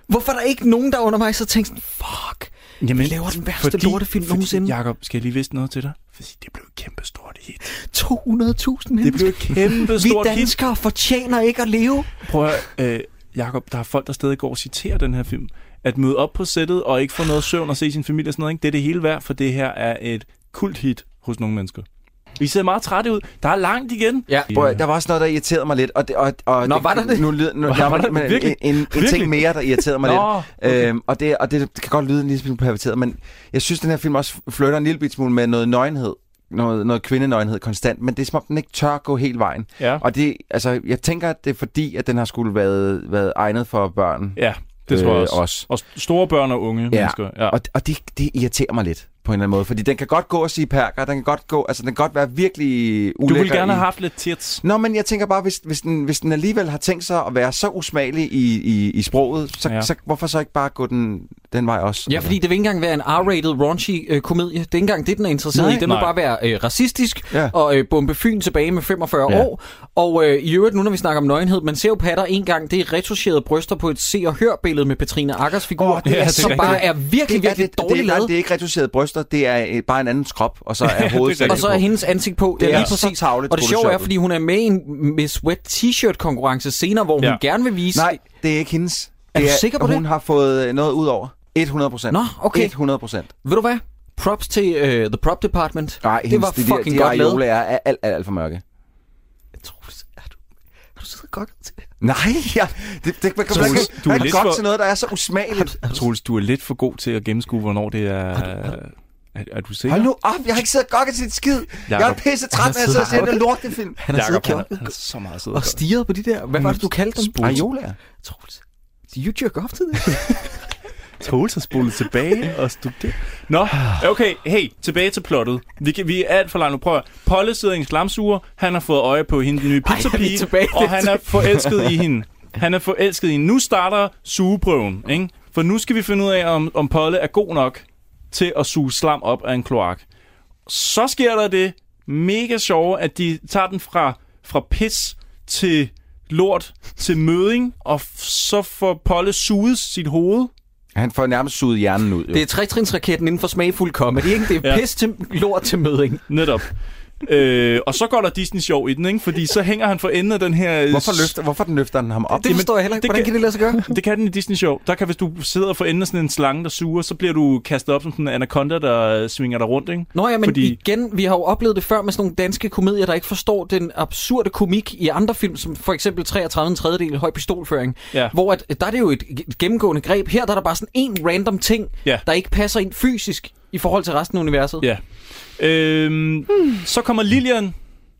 S1: Hvorfor er der ikke nogen, der under mig så tænkt sådan, fuck, Jamen, vi laver den værste fordi, lortefilm nogensinde. Jeg...
S6: Jakob, skal jeg lige vise noget til dig? Fordi det blev et kæmpe stort hit.
S1: 200.000
S6: Det blev
S1: mennesker.
S6: et kæmpe
S1: Vi
S6: stort hit.
S1: danskere fortjener ikke at leve.
S6: Prøv at høre, øh, Jakob, der er folk, der stadig går og citerer den her film. At møde op på sættet og ikke få noget søvn og se sin familie og sådan noget, ikke? det er det hele værd, for det her er et kult hit hos nogle mennesker. Vi ser meget trætte ud. Der er langt igen.
S1: Ja.
S7: Prøv, at- der var også noget, der irriterede mig lidt. Og det, og, og
S1: Nå, var der det?
S7: Nu, lyder- nu,
S6: Var-
S7: jeg,
S6: var
S7: var
S6: der-
S7: men,
S6: virkelig?
S7: en, en, en
S6: Virkelig?
S7: ting mere, der irriterede mig lidt.
S6: Nå, okay.
S7: Øhm, og det, og det, det kan godt lyde en lille smule perverteret, men jeg synes, den her film også flytter en lille bit smule med noget nøgenhed. Noget, noget kvindenøgenhed konstant, men det er som om, den ikke tør gå hele vejen.
S6: Ja.
S7: Og det, altså, jeg tænker, at det er fordi, at den har skulle været, været egnet for børn.
S6: ja det tror jeg
S7: Øh,
S6: også.
S7: også.
S6: Og store børn og unge ja. mennesker. Ja.
S7: Og, og det, det irriterer mig lidt på en eller anden måde, fordi den kan godt gå og sige perker, den kan godt gå, altså den kan godt være virkelig
S6: Du
S7: ulækker.
S6: ville gerne
S7: i-
S6: have haft lidt tits.
S7: Nå, men jeg tænker bare, hvis, hvis, den, hvis den alligevel har tænkt sig at være så usmagelig i, i, i sproget, så,
S6: Ja.
S7: ja. så hvorfor så ikke bare gå den, den vej også?
S1: Ja, fordi det vil ikke engang være en R-rated, raunchy øh, komedie. Det er ikke engang det, den er interesseret
S6: Nej.
S1: i. Den må
S6: Nej.
S1: bare være øh, racistisk
S7: Ja.
S1: ja. og øh, bombe Fyn tilbage med 45
S6: Ja.
S1: ja. år. Og øh, i øvrigt, nu når vi snakker om nøgenhed, man ser jo patter en gang, det er retuscherede bryster på et se- og hør-billede med Petrine Akkers figur,
S7: Åh, det er
S1: ja,
S6: så
S1: som
S6: rigtigt.
S1: bare er virkelig, virkelig
S7: det,
S1: dårligt
S7: det, er, nej,
S1: lavet.
S7: det er ikke reduceret bryster, det er øh, bare en andens krop, og
S1: (laughs)
S7: så er hovedet
S6: rigtigt.
S1: Og så er hendes ansigt på.
S7: Det
S1: Det
S7: er
S1: er lige
S7: så
S1: præcis.
S7: tarveligt
S1: og det sjove er,
S7: photoshoppet.
S1: fordi hun er med i en Miss Wet T-shirt konkurrence senere, hvor
S6: Ja.
S1: hun gerne vil vise...
S7: Nej, det er ikke hendes.
S1: Er
S7: det
S1: du sikker på
S7: hun
S1: det?
S7: har fået øh, noget ud over. 100 procent.
S1: Nå, okay.
S7: 100 procent.
S1: Ved du hvad? Props til øh, The Prop Department.
S7: Nej,
S1: det var
S7: de,
S1: fucking
S7: de, de
S1: godt lavet.
S7: areoler er alt, alt, alt for mørke.
S1: Troels, er du... du sidder godt til det?
S7: Nej, ja, det, det, man kan, man kan,
S6: Troels, du er
S7: man kan
S6: lidt
S7: godt
S6: for-
S7: til noget, der er så usmageligt.
S1: Altså-
S6: Troels, du er lidt for god til at gennemskue, hvornår det er... Er, er, er du sikker?
S7: Hold nu op, jeg har ikke siddet og gokket til et skid. Jeg er
S6: Jakob,
S7: pisse træt,
S6: han
S7: når jeg sidder og ser
S6: sidder-
S7: den der lortefilm.
S1: Han har siddet
S6: Jakob,
S1: i kjorten
S6: han er- han er så meget sød.
S1: og stirret på de der... Hvad var det, du kaldte dem?
S6: Spurgt.
S7: Areola.
S1: Troels. Do you jerk off til det?
S6: Troels har spolet tilbage og studeret. Nå, okay, hey, tilbage til plottet. Vi, kan, vi er alt for langt nu. Prøv at høre. Polle sidder i en slamsuger, han har fået øje på hende, den nye
S1: Ej, er vi
S6: pizzapige,
S1: tilbage
S6: og
S1: til-
S6: han er forelsket i hende. Han er forelsket i hende. Nu starter sugeprøven, ikke? For nu skal vi finde ud af, om, om Polle er god nok til at suge slam op af en kloak. Så sker der det mega sjove, at de tager den fra, fra pis til lort til møding, og f- så får Polle suget sit hoved.
S7: Han får nærmest suget hjernen ud. Jo.
S1: Det er trætrinsraketten inden for smagfuld comedy, ikke? Det er
S6: Ja.
S1: pis til lort til møding.
S6: Netop. øh, og så går der Disney sjov i den, ikke? Fordi så hænger han for enden af den her... øh,
S7: Hvorfor, løfter, hvorfor den løfter den ham op?
S1: Det forstår jeg heller ikke.
S6: det
S1: Hvordan
S6: kan-
S1: kan det lade sig gøre?
S6: Det kan den i Disney sjov. Der kan, hvis du sidder for enden af sådan en slange, der suger, så bliver du kastet op som sådan en anaconda, der øh, svinger dig rundt, ikke?
S1: Nå ja, men
S6: Fordi-
S1: Fordi... igen, vi har jo oplevet det før med sådan nogle danske komedier, der ikke forstår den absurde komik i andre film, som for eksempel 33 en tredjedel høj pistolføring,
S6: Ja.
S1: hvor at, der er det jo et g- gennemgående greb. Her der er der bare sådan en random ting,
S6: Ja.
S1: der ikke passer ind fysisk i forhold til resten af universet.
S6: Ja. Øhm, Så kommer Lillian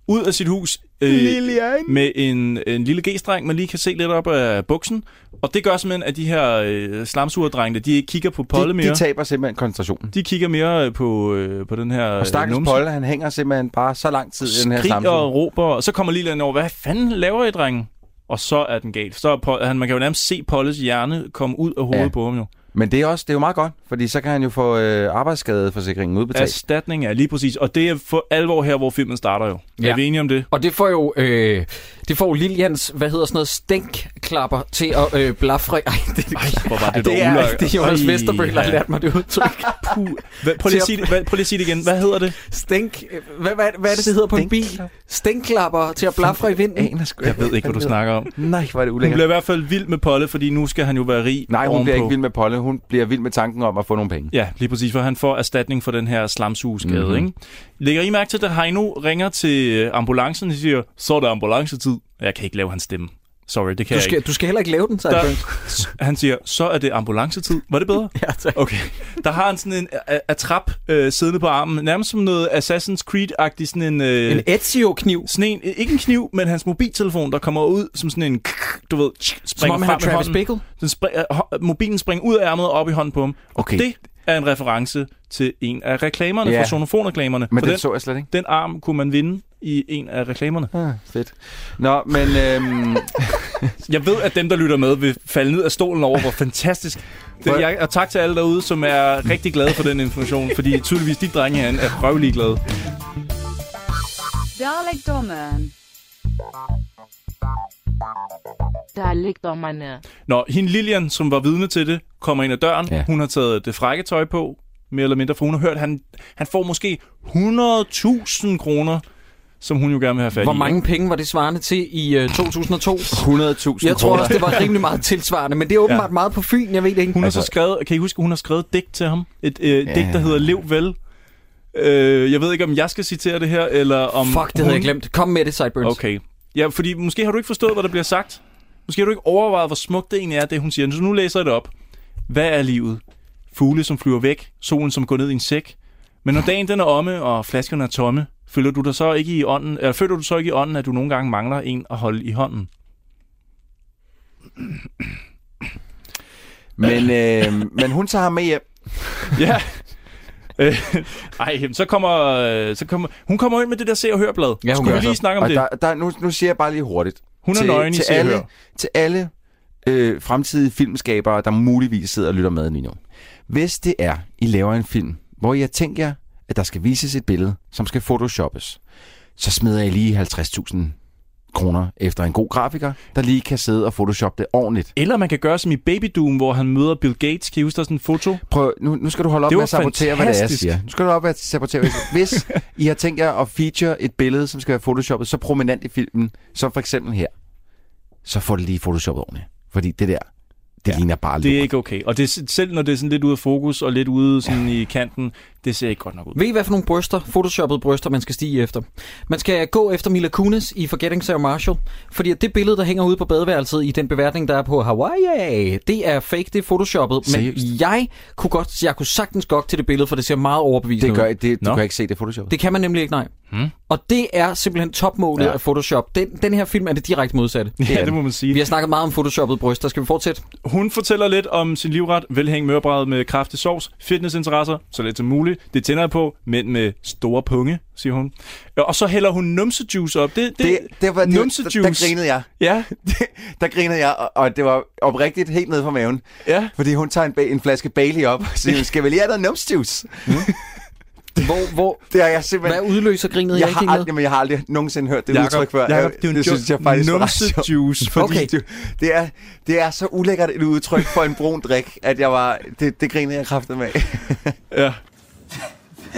S6: ud af sit hus øh, Lillian. med en, en lille G-streng, man lige kan se lidt op af buksen. Og det gør simpelthen, at de her øh, slamsugerdrengene, de ikke kigger på Polle
S7: de,
S6: mere.
S7: de taber simpelthen koncentrationen.
S6: de kigger mere øh, på, øh, på den her øh,
S7: Og stakkels
S6: numse.
S7: Polle, han hænger simpelthen bare så lang tid i den her
S6: skriger
S7: samtale.
S6: og råber, og så kommer Lilian over, hvad fanden laver I, drenge? Og så er den galt. Så er Paul, han, man kan jo nærmest se Polles hjerne komme ud af hovedet
S7: Ja.
S6: ja. på ham jo.
S7: Men det er, også, det er jo meget godt, fordi så kan han jo få øh, arbejdsskadeforsikringen udbetalt.
S6: Erstatning er lige præcis, og det er for alvor her, hvor filmen starter jo. Ja. Er
S1: Ja.
S6: vi enige om det?
S1: Og det får jo, øh, det får jo Lilians, hvad hedder sådan noget, stænkklapper til at øh, blafre. Ej, det,
S6: Ej, hvor var det,
S1: det,
S6: dog
S1: er,
S6: ulækkert.
S1: det er Jonas
S6: Ej,
S1: Vesterbøl, der har
S6: ja.
S1: lært mig det
S6: (laughs)
S1: udtryk.
S6: Puh. Hvad, prøv, lige at sige det, hvad, prøv lige at sige det igen. Hvad hedder det?
S1: Stænk, øh, hvad, hvad, hvad er det, det hedder på en bil? Stænkklapper til at blafre i vinden.
S7: aner sgu
S6: Jeg ved ikke, hvad du snakker om.
S7: Nej, hvor er det
S6: Hun
S7: ulækkert.
S6: bliver i hvert fald vild med Polle, fordi nu skal han jo være rig
S7: Nej, hun
S6: ovenpå.
S7: bliver ikke vild med Polle. Hun bliver vild med tanken om at få nogle penge.
S6: Ja, lige præcis, for han får erstatning for den her slamsugeskade,
S7: Mhm.
S6: mm-hmm. ikke? Lægger I mærke til, at Heino ringer til øh, ambulancen og siger, så er der ambulancetid. Jeg kan ikke lave hans stemme. Sorry, det kan
S1: Du
S6: jeg
S1: skal,
S6: ikke.
S1: du skal heller ikke lave den, sagde
S6: Der-
S1: Burns.
S6: (laughs) Han siger, så er det ambulancetid. Var det bedre?
S1: (laughs) Ja, tak.
S6: Okay. Der har han sådan en øh, atrap øh, siddende på armen, nærmest som noget Assassin's Creed-agtig sådan en... Øh,
S1: En Ezio-kniv.
S6: sådan en, ikke en kniv, men hans mobiltelefon, der kommer ud som sådan en, du ved,
S1: Som
S6: springer
S1: om han er
S6: frem med
S1: Travis
S6: hånden.
S1: Bickle.
S6: Den spring, øh, hå- mobilen springer ud af ærmet og op i hånden på ham. Og
S7: Okay.
S6: det er en reference til en af reklamerne
S7: Ja.
S6: yeah. fra Sonofonreklamerne.
S7: Men
S6: For den,
S7: det så jeg slet ikke.
S6: den arm kunne man vinde i en af reklamerne.
S7: Ah, fedt. Nå, men øhm,
S6: Jeg ved, at dem, der lytter med, vil falde ned af stolen over, hvor
S1: (laughs)
S6: fantastisk det
S7: Hvor-
S6: jeg, og tak til alle derude, som er rigtig glade for den information, fordi tydeligvis de drenge herinde er røvlig glade.
S11: Dalekdommeren.
S3: Dalekdommerne.
S6: Nå, hende Lilian, som var vidne til det, kommer ind ad døren.
S7: Ja.
S6: Ja. Hun har taget det frække tøj på, mere eller mindre, for hun har hørt, at han, han får måske 100.000 kroner, som hun jo gerne vil have fat
S1: Hvor
S6: i.
S1: mange penge var det svarende til i øh, 2002?
S7: 100.000
S1: Jeg tror
S7: kroner.
S1: også, det var rimelig meget tilsvarende, men det er åbenbart meget på Fyn, jeg ved det ikke.
S6: Hun altså, har
S7: Altså-
S6: så skrevet, kan I huske, hun har skrevet et digt til ham? Et øh, digt, der hedder Lev vel. Øh, jeg ved ikke, om jeg skal citere det her, eller om...
S1: Fuck, det
S6: hun...
S1: havde jeg glemt. Kom med det, Sideburns.
S6: Okay. Ja, fordi måske har du ikke forstået, hvad der bliver sagt. Måske har du ikke overvejet, hvor smukt det egentlig er, det hun siger. Så nu læser jeg det op. Hvad er livet? Fugle, som flyver væk. Solen, som går ned i en sæk. Men når dagen den er omme, og flaskerne er tomme, føler du dig så ikke i ånden, eller føler du så ikke i ånden, at du nogle gange mangler en at holde i
S7: (laughs)
S6: hånden?
S7: Men, øh, men hun tager ham med hjem.
S6: Ja. Øh, Ej, jamen, så kommer, øh, så kommer... Hun kommer ind med det der Se og Hør-blad.
S1: Ja, hun
S6: Skulle
S1: gør
S6: vi lige
S1: så.
S6: snakke om
S7: altså. Og
S6: det?
S7: der, der, nu, nu siger jeg bare lige hurtigt.
S6: Hun er
S7: til,
S6: nøgen i
S7: til
S6: Se og
S7: alle,
S6: Hør.
S7: til alle øh, fremtidige filmskabere, der muligvis sidder og lytter med lige nu. Hvis det er, I laver en film, hvor jeg tænker jer, at der skal vises et billede, som skal photoshoppes, så smider jeg lige 50.000 kroner efter en god grafiker, der lige kan sidde og photoshoppe det ordentligt.
S6: Eller man kan gøre som i Baby Doom, hvor han møder Bill Gates. Kan I huske, der er sådan en foto?
S7: Prøv, nu, nu skal du holde op
S6: Det
S7: med
S6: var
S7: at sabotere, hvad det er, jeg
S6: fantastisk.
S7: siger. Nu skal du holde op med at sabotere, hvad jeg siger. Hvis I har tænkt jer at feature et billede, som skal være photoshoppet så prominent i filmen, som for eksempel her, så få det lige photoshoppet ordentligt. Fordi det der, Det ja, ligner bare
S6: Det er ikke okay. Og det, er- selv når det er sådan lidt ude af fokus og lidt ude sådan ja. i kanten, det ser ikke godt nok ud.
S1: Ved I, hvad for nogle bryster, photoshoppede bryster, man skal stige efter? Man skal gå efter Mila Kunis i Forgetting Sarah Marshall, fordi at det billede, der hænger ude på badeværelset i den beværtning, der er på Hawaii, det er fake, det er photoshoppet. Men
S7: Seriøst?
S1: jeg kunne, godt, jeg kunne sagtens godt til det billede, for det ser meget overbevisende
S7: Det gør,
S1: ud.
S7: det, du kan ikke se det Photoshop.
S1: Det kan man nemlig ikke, nej. Hmm? Og det er simpelthen topmålet
S7: Ja.
S1: ja. af Photoshop. Den, den her film er det direkte modsatte.
S6: Ja, det må man sige.
S1: Vi har snakket meget om photoshoppet bryster. Skal vi fortsætte?
S6: Hun fortæller lidt om sin livret, velhæng mørbræd med kraftig sovs, fitnessinteresser, så lidt som muligt. Det tænder jeg på, men med store punge, siger hun. Ja, Og så hælder hun numsejuice op. Det, det,
S7: Det- det var- det-
S6: numsejuice.
S7: der- der grinede jeg. (laughs)
S6: Ja.
S7: der grinede jeg, og, og det var oprigtigt helt ned fra maven.
S6: Ja.
S7: Fordi hun tager en, ba- en flaske Bailey op og
S6: (laughs)
S7: siger, skal vi lige have noget numsejuice?
S1: Hvor,
S7: (laughs)
S1: hvor,
S7: det har jeg simpelthen...
S1: Hvad udløser grinet?
S7: Jeg
S1: ikke
S7: har,
S1: helt med?
S7: aldrig, men jeg har aldrig nogensinde hørt det
S6: Jakob,
S7: udtryk før.
S6: Jakob, det er jo en
S7: det
S6: joke.
S7: synes jeg faktisk var ret sjovt.
S6: Numsejuice, fordi
S7: Fordi det, det, er, det er så ulækkert et udtryk for en brun drik, at jeg var, det, det grinede jeg kraftet med.
S6: ja.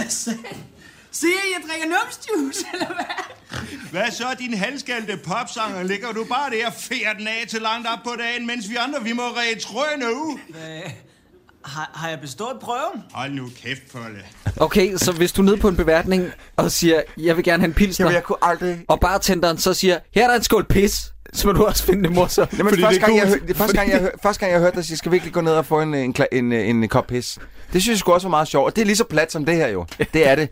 S8: Se, jeg drikker numsjuice, eller hvad?
S4: Hvad så, din halskældte popsanger? Ligger du bare der og færer den af til langt op på dagen, mens vi andre, vi må ræde trøjene ud?
S8: Har, har jeg bestået prøven?
S4: Hold nu kæft, Polle.
S1: Okay, så hvis du er nede på en beværtning og siger, jeg vil gerne have en pilsner,
S7: Jamen, jeg kunne aldrig...
S1: og bartenderen så siger, her er der en skål pis, så må du også finde det morsomt.
S7: Jamen, fordi første, gang, jeg, hør- det, første, gang, jeg, hør- første gang, jeg hørte dig sige, skal vi ikke lige gå ned og få en, øh, en, kla- en, øh, en kop pis? Det synes jeg sgu også var meget sjovt, og det er lige så plat som det her jo. Det er det.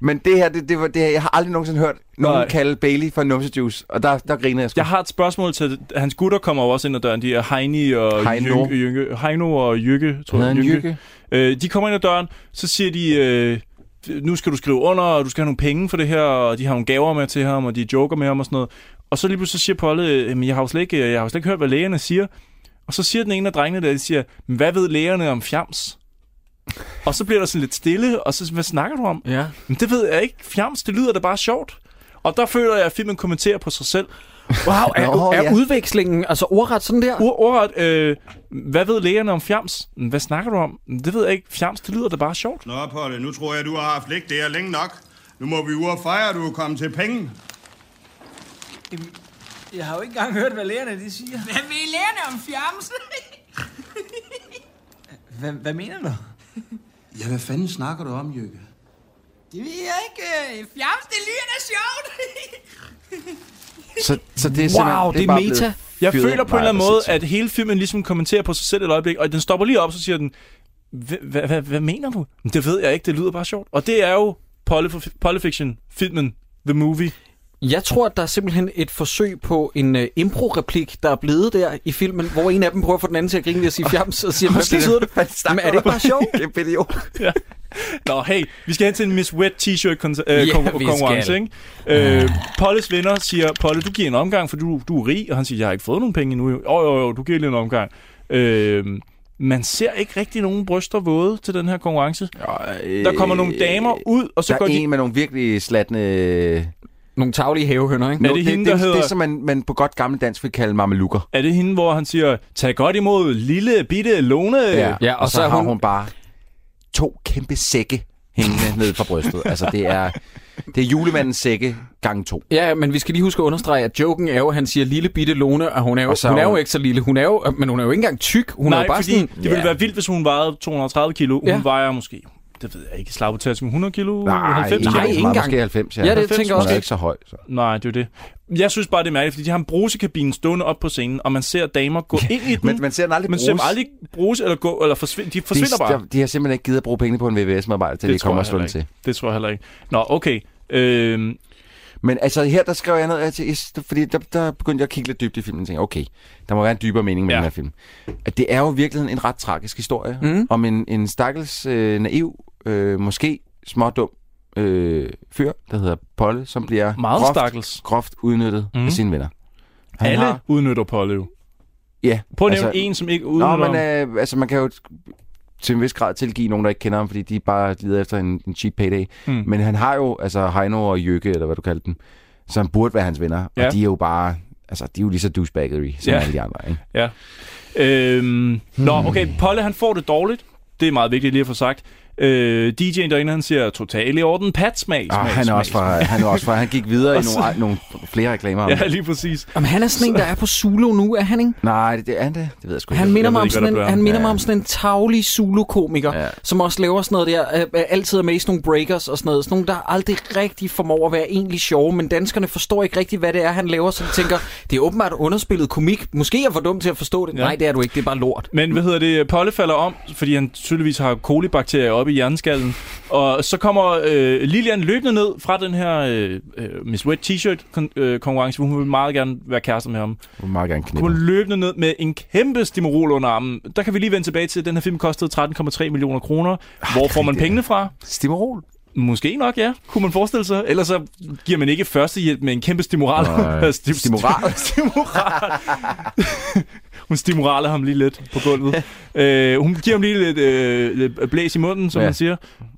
S7: Men det her, det, det, var, det her jeg har aldrig nogensinde hørt nogen
S6: Nej.
S7: Nej. kalde Bailey for numsejuice, og der, der griner jeg sgu.
S6: Jeg har et spørgsmål til... Hans gutter kommer jo også ind ad døren. De er Heini og
S7: Heino.
S6: Jynke, Jynke, Heino og Jykke, tror jeg.
S7: Hedder han
S6: Øh, de kommer ind ad døren, så siger de... Øh, nu skal du skrive under, og du skal have nogle penge for det her, og de har nogle gaver med til ham, og de joker med ham og sådan noget. Og så lige pludselig så siger Polle, øh, "Jamen, jeg har jo slet ikke, jeg har jo slet ikke hørt, hvad lægerne siger. Og så siger den ene af drengene der, de siger, "Men hvad ved lægerne om fjams? Og så bliver der sådan lidt stille, og så, hvad snakker du om?
S1: Ja.
S6: Men det ved jeg ikke. Fjams, det lyder da bare sjovt. Og der føler jeg, at filmen kommenterer på sig selv.
S1: Wow, er,
S6: Nå,
S1: er
S6: ja.
S1: udvekslingen altså ordret sådan der?
S6: Ur- Ordret, øh, hvad ved lægerne om fjams? Hvad snakker du om? Det ved jeg ikke. Fjams, det lyder da bare sjovt.
S4: Nå, Polle, nu tror jeg, du har haft ligt det her længe nok. Nu må vi ud og fejre, at du er kommet til penge.
S8: Jamen, jeg har jo ikke engang hørt, hvad lærerne de siger.
S12: Hvad vil lærerne om fjamsen?
S8: Hvad, hvad mener du?
S13: Ja, hvad fanden snakker du om, Jykke?
S12: Det ved jeg ikke. øh, Fjams, det lyder da sjovt. (laughs)
S7: Så, så det er
S6: Wow, det er meta. Jeg
S7: fyret.
S6: føler på en
S7: Nej,
S6: eller anden måde, at
S7: præcis.
S6: hele filmen ligesom kommenterer på sig selv et øjeblik, og den stopper lige op, så siger den, "Hva- hva- hva- hvad mener du? "Men Det ved jeg ikke, det lyder bare sjovt. Og det er jo Polyf- Polyfiction, filmen, the movie.
S1: Jeg tror, at der er simpelthen et forsøg på en uh, impro-replik, der er blevet der i filmen, hvor en af dem prøver at få den anden til at grine ved at sige fjams, og siger, hvad
S7: Måske
S1: betyder
S7: (laughs)
S1: det?
S7: Hvad snakker
S1: Men er det ikke
S7: du om?
S1: bare
S7: (laughs)
S1: sjovt?
S7: Kæmpe idiot.
S6: Nå, hey, vi skal hen til en Miss Wet t-shirt kon- øh,
S1: Ja,
S6: kon-
S1: vi
S6: konkurrence,
S1: skal.
S6: ikke? Øh, Polles venner siger, Polle, du giver en omgang, for du, du er rig, og han siger, jeg har ikke fået nogen penge endnu. Jo, jo, jo, du giver lige en omgang. Øh, man ser ikke rigtig nogen bryster våde til den her konkurrence. Der kommer nogle damer ud, og så
S7: der
S6: går
S7: er
S6: de...
S7: en med nogle virkelig slatne...
S1: Nogle taglige havehønder, ikke?
S7: No,
S6: det
S7: det,
S6: hende,
S7: det,
S6: der
S7: det,
S6: hedder-
S7: det, som man, man på godt gammeldansk vil kalde mamelukker.
S6: Er det hende, hvor han siger, tag godt imod lille, bitte, lone?
S1: Ja, og
S7: og, så,
S1: så er
S7: har
S1: hun-
S7: hun... bare to kæmpe sække hængende ned fra
S6: (laughs)
S7: brystet. Altså, det er, det er julemandens sække gang to.
S6: Uh,
S1: Ja, men vi skal lige huske at understrege, at joken er jo, at han siger lille bitte Lone, og hun er jo,
S7: Og så er
S1: hun er jo
S7: hun-
S1: ikke så lille. Hun er jo, men hun er jo ikke engang tyk. Hun er
S6: Nej,
S1: jo bare
S6: fordi
S1: sådan...
S6: det ville være vildt, hvis hun vejede 230 kilo. Hun
S1: Ja.
S6: vejer måske, det ved jeg ikke, slag på tasken, 100 kilo? 90
S1: nej,
S6: kilo?
S1: ikke
S7: meget,
S1: engang.
S7: Måske 90, ja.
S1: Ja, det
S7: 90,
S1: tænker jeg
S7: hun
S1: også.
S7: er ikke så høj. Så.
S6: Nej, det er jo det. Jeg synes bare, det er mærkeligt, fordi de har en brusekabine stående op på scenen, og man ser damer gå ind i den.
S7: Men man ser den aldrig
S6: man Mm. ser dem
S7: bruges.
S6: aldrig bruse eller gå, eller forsvind, de forsvinder
S7: de,
S6: bare.
S7: der- De har simpelthen ikke givet at bruge penge på en VVS-medarbejder, til det, det
S6: tror
S7: kommer
S6: jeg heller
S7: sådan til.
S6: ikke. Det tror jeg heller ikke. Nå, okay. Øhm,
S7: Men altså her, der skrev jeg noget, altså, yes, der- fordi der, der begyndte jeg at kigge lidt dybt i filmen, og tænkte, okay, der må være en dybere mening med
S6: Ja.
S7: ja. den her film. At det er jo i virkeligheden en ret tragisk historie mm.
S6: Mhm.
S7: om en, en stakkels øh, naiv, øh, måske smådum øh, fyr, der hedder Polle, som bliver
S6: Meget stakkels.
S7: groft, groft udnyttet mm.
S6: Mhm.
S7: af sine venner. Han
S6: alle
S7: har-
S6: udnytter Polly jo.
S7: Ja, altså,
S6: Prøv at nævne en, som ikke udnytter
S7: Nå, men
S6: ham.
S7: øh, altså, man kan jo til en vis grad tilgive nogen, der ikke kender ham, fordi de bare lider efter en, en cheap payday.
S6: Mm.
S7: Mm. Men han har jo, altså Heino og Jøkke, eller hvad du kalder dem, som burde være hans venner. Ja.
S6: Ja.
S7: Og de er jo bare, altså de er jo lige så douchebaggery, som
S6: Ja.
S7: alle de andre. Ikke?
S6: Ja. Øhm, hmm. Nå, okay. Polle, han får det dårligt. Det er meget vigtigt lige at få sagt. Øh, DJ'en derinde, han siger, total i orden, pat smag, smag,
S7: Ah, han er
S6: smag,
S7: også fra,
S6: smag."
S7: han er også fra, han gik videre i
S6: Og så-
S7: nogle, nogle flere reklamer.
S6: Ja, lige præcis.
S1: Jamen, han er sådan en, der er på Zulu nu, er han ikke?
S7: Nej, det, det er han det. Det ved jeg sgu
S1: Han
S7: ikke.
S1: minder,
S7: Jeg
S1: mig
S7: ved
S1: om,
S7: ikke,
S1: sådan
S7: hvad
S1: en,
S7: der
S1: han
S7: blev
S1: minder
S7: af
S1: mig
S7: ham.
S1: om sådan en tavlig Zulu-komiker, ja. som også laver sådan noget der, øh, øh, altid er med i sådan nogle breakers og sådan noget. Sådan nogle, der aldrig rigtig formår at være egentlig sjove, men danskerne forstår ikke rigtig, hvad det er, han laver, så de tænker, det er åbenbart underspillet komik. Måske er jeg for dum til at forstå det. Ja.
S6: Ja.
S1: Nej, det er du ikke, det er bare lort.
S6: Men hvad hedder det? Polle falder om, fordi han tydeligvis har kolibakterier oppe i hjerneskallen. Og så kommer øh, Lilian løbende ned fra den her øh, øh, Miss Wet T-shirt kon- øh, konkurrence, hvor hun vil meget gerne være kærester med ham.
S7: Hun vil meget gerne knippe.
S6: Kommer løbende ned med en kæmpe stimorol under armen. Der kan vi lige vende tilbage til, at den her film kostede 13,3 millioner kroner.
S7: Ah,
S6: Hvor får man pengene fra?
S7: Stimorol?
S6: Måske nok, ja. Kunne man forestille sig. Ellers så giver man ikke førstehjælp med en kæmpe Altså, stimoral. (laughs)
S7: Nej.
S6: Stim-
S7: Stimoral?
S6: stimoral. hun stimoraler ham lige lidt på
S7: (laughs)
S6: gulvet. øh, hun giver ham lige lidt øh, lidt blæs i munden, som
S7: Ja.
S6: ja. man siger.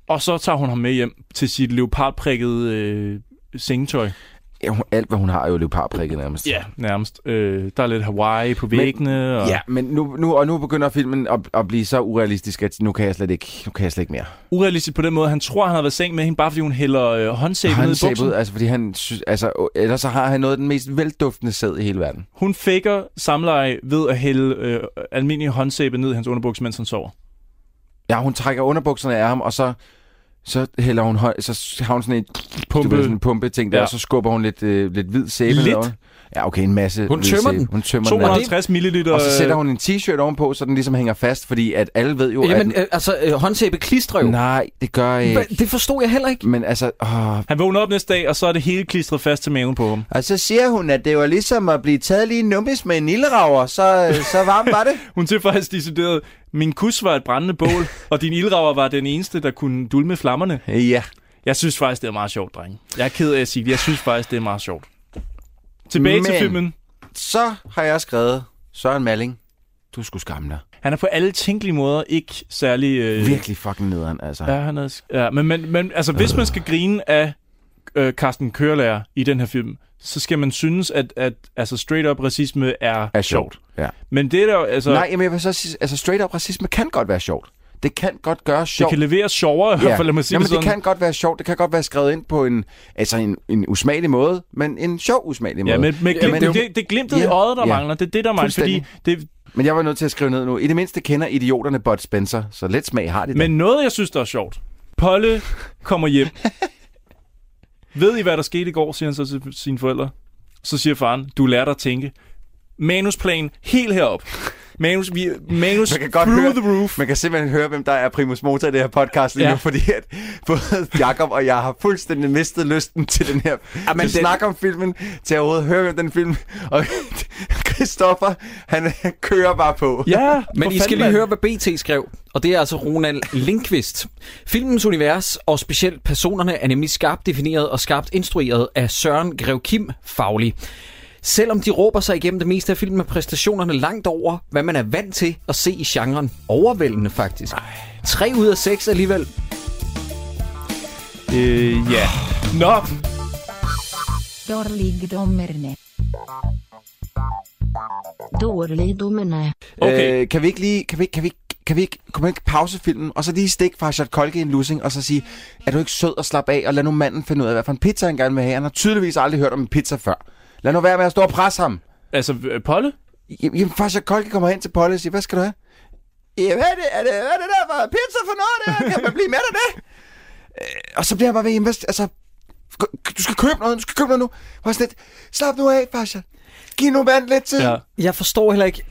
S6: Og så tager hun ham med hjem til sit leopardprikkede øh, sengetøj.
S7: (laughs) Ja, hun- alt, hvad hun har, er jo leopardprikket nærmest.
S6: Ja, nærmest. Øh, der er lidt Hawaii på væggene. og...
S7: Ja, men nu, nu, og nu begynder filmen at, at blive så urealistisk, at nu kan jeg slet ikke, nu kan jeg slet ikke mere.
S6: Urealistisk på den måde. Han tror, han har været i seng med hende, bare fordi hun hælder øh, håndsæbe ned i
S7: Håndsæbe
S6: buksen.
S7: ud, altså, fordi han synes, altså, å- ellers så har han noget af den mest velduftende sæd i hele verden.
S6: Hun faker samleje ved at hælde øh, almindelig håndsæbe ned i hans underbuks, mens han sover.
S7: Ja, hun trækker underbukserne af ham, og så, så hælder hun, høj, så har hun sådan en
S6: Pumpe.
S7: du ved, sådan en pumpe ting der,
S6: Ja.
S7: ja. og så skubber hun lidt, øh, lidt hvid sæbe
S6: Lidt?
S7: nedover. Ja, okay, en masse
S1: Hun
S7: hvid
S1: tømmer
S7: sæbe.
S1: den.
S7: Hun tømmer den.
S6: 250 milliliter...
S7: Og så sætter
S6: øh,
S7: hun en t-shirt ovenpå, så den ligesom hænger fast, fordi at alle ved jo,
S1: Jamen,
S7: at...
S1: øh, altså, øh, håndsæbe klistrer jo.
S7: Nej, det gør jeg
S1: Hva-
S7: ikke.
S1: Det forstod jeg heller ikke.
S7: Men altså, åh,
S6: øh, Han vågner op næste dag, og så er det hele klistret fast til maven på ham.
S7: Og så siger hun, at det var ligesom at blive taget lige nummis med en ildrager, så, øh, så varm var det.
S6: Hun tilføjer faktisk decideret, min kus var et brændende bål, og din ildrager var den eneste, der kunne dulme flammerne.
S7: (laughs) ja.
S6: Jeg synes faktisk, det er meget sjovt, drenge. Jeg er ked af at sige det. Jeg synes faktisk, det er meget sjovt. Tilbage Men... til
S7: Men-
S6: filmen.
S7: Så har jeg skrevet, Søren Malling, du skulle skamme dig.
S6: Han er på alle tænkelige måder ikke særlig... Øh...
S7: Virkelig fucking nederen, altså.
S6: Ja, han er... Ja, men, men, men altså, hvis man skal grine af øh, Carsten Kørlærer i den her film, så skal man synes, at, at altså, straight-up racisme er,
S7: Er sjovt. Ja.
S6: Men det er der jo, altså...
S7: Nej, jamen jeg vil så sige, altså straight up racisme kan godt være sjovt. Det kan godt gøre
S6: Det
S7: sjovt.
S6: kan levere sjovere, i hvert fald, lad mig sige
S7: Jamen,
S6: det sådan.
S7: det kan godt være sjovt. Det kan godt være skrevet ind på en, altså en, en usmagelig måde, men en sjov usmagelig
S6: Ja,
S7: måde.
S6: men, men,
S7: Jamen,
S6: glim, det, det, det glimtet ja, i øjet, der ja, mangler, det er det, der mangler. Fordi
S7: Fuldstændig.
S6: det,
S7: Men jeg var nødt til at skrive ned nu. I det mindste kender idioterne Bud Spencer, så let smag har de
S6: men noget, jeg synes, der er sjovt. Polle kommer hjem. Ved I, hvad der skete i går, siger han så til sine forældre. Så siger faren, du lærte at tænke. Manusplan helt herop. Manus, vi, manus
S7: Man kan godt
S6: through
S7: høre,
S6: the roof.
S7: Man kan simpelthen høre, hvem der er primus motor i det her podcast lige ja.
S6: Ja.
S7: nu, fordi at både Jakob og jeg har fuldstændig mistet lysten til den her ja, men
S1: men
S7: til
S1: den-
S7: snak om filmen, til at overhovedet høre om den film. Og Christoffer, han kører bare på.
S6: Ja,
S1: Men
S6: for
S1: I skal lige
S6: fanden, mand.
S1: høre, hvad BT skrev, og det er altså Ronald Linkvist. Filmens univers og specielt personerne er nemlig skarpt defineret og skarpt instrueret af Søren Grev Kim Faglig. Selvom de råber sig igennem det meste af filmen med præstationerne langt over, hvad man er vant til at se i genren. Overvældende faktisk. Tre ud af seks alligevel.
S6: Øh, ja. Nå,
S14: Dårligdommerne.
S3: Dårligdommerne.
S6: Okay.
S7: Øh, kan vi ikke lige... Kan vi, ikke- kan vi, ikke- kan vi ikke, kunne man ikke pause filmen, og så lige stikke fra Shot Kolke en lussing, og så sige, er du ikke sød og slappe af, og lad nu manden finde ud af, hvad for en pizza han gerne vil have. Han har tydeligvis aldrig hørt om en pizza før. Lad nu være med at stå og presse ham.
S6: altså øh, Polle?
S7: Jamen, jamen Fasha Kolke kommer hen til Polly og siger, hvad skal du have? Jamen, hvad er det, er det, hvad er det der for pizza for noget der? Kan man blive med af det? Øh, og så bliver jeg bare ved, jamen, hvad- altså, gå- du skal købe noget, du skal købe noget nu. Og sådan lidt, slap nu af, Fasha. Giv nu mand lidt tid. Ja.
S6: Ja.
S1: Jeg forstår heller ikke...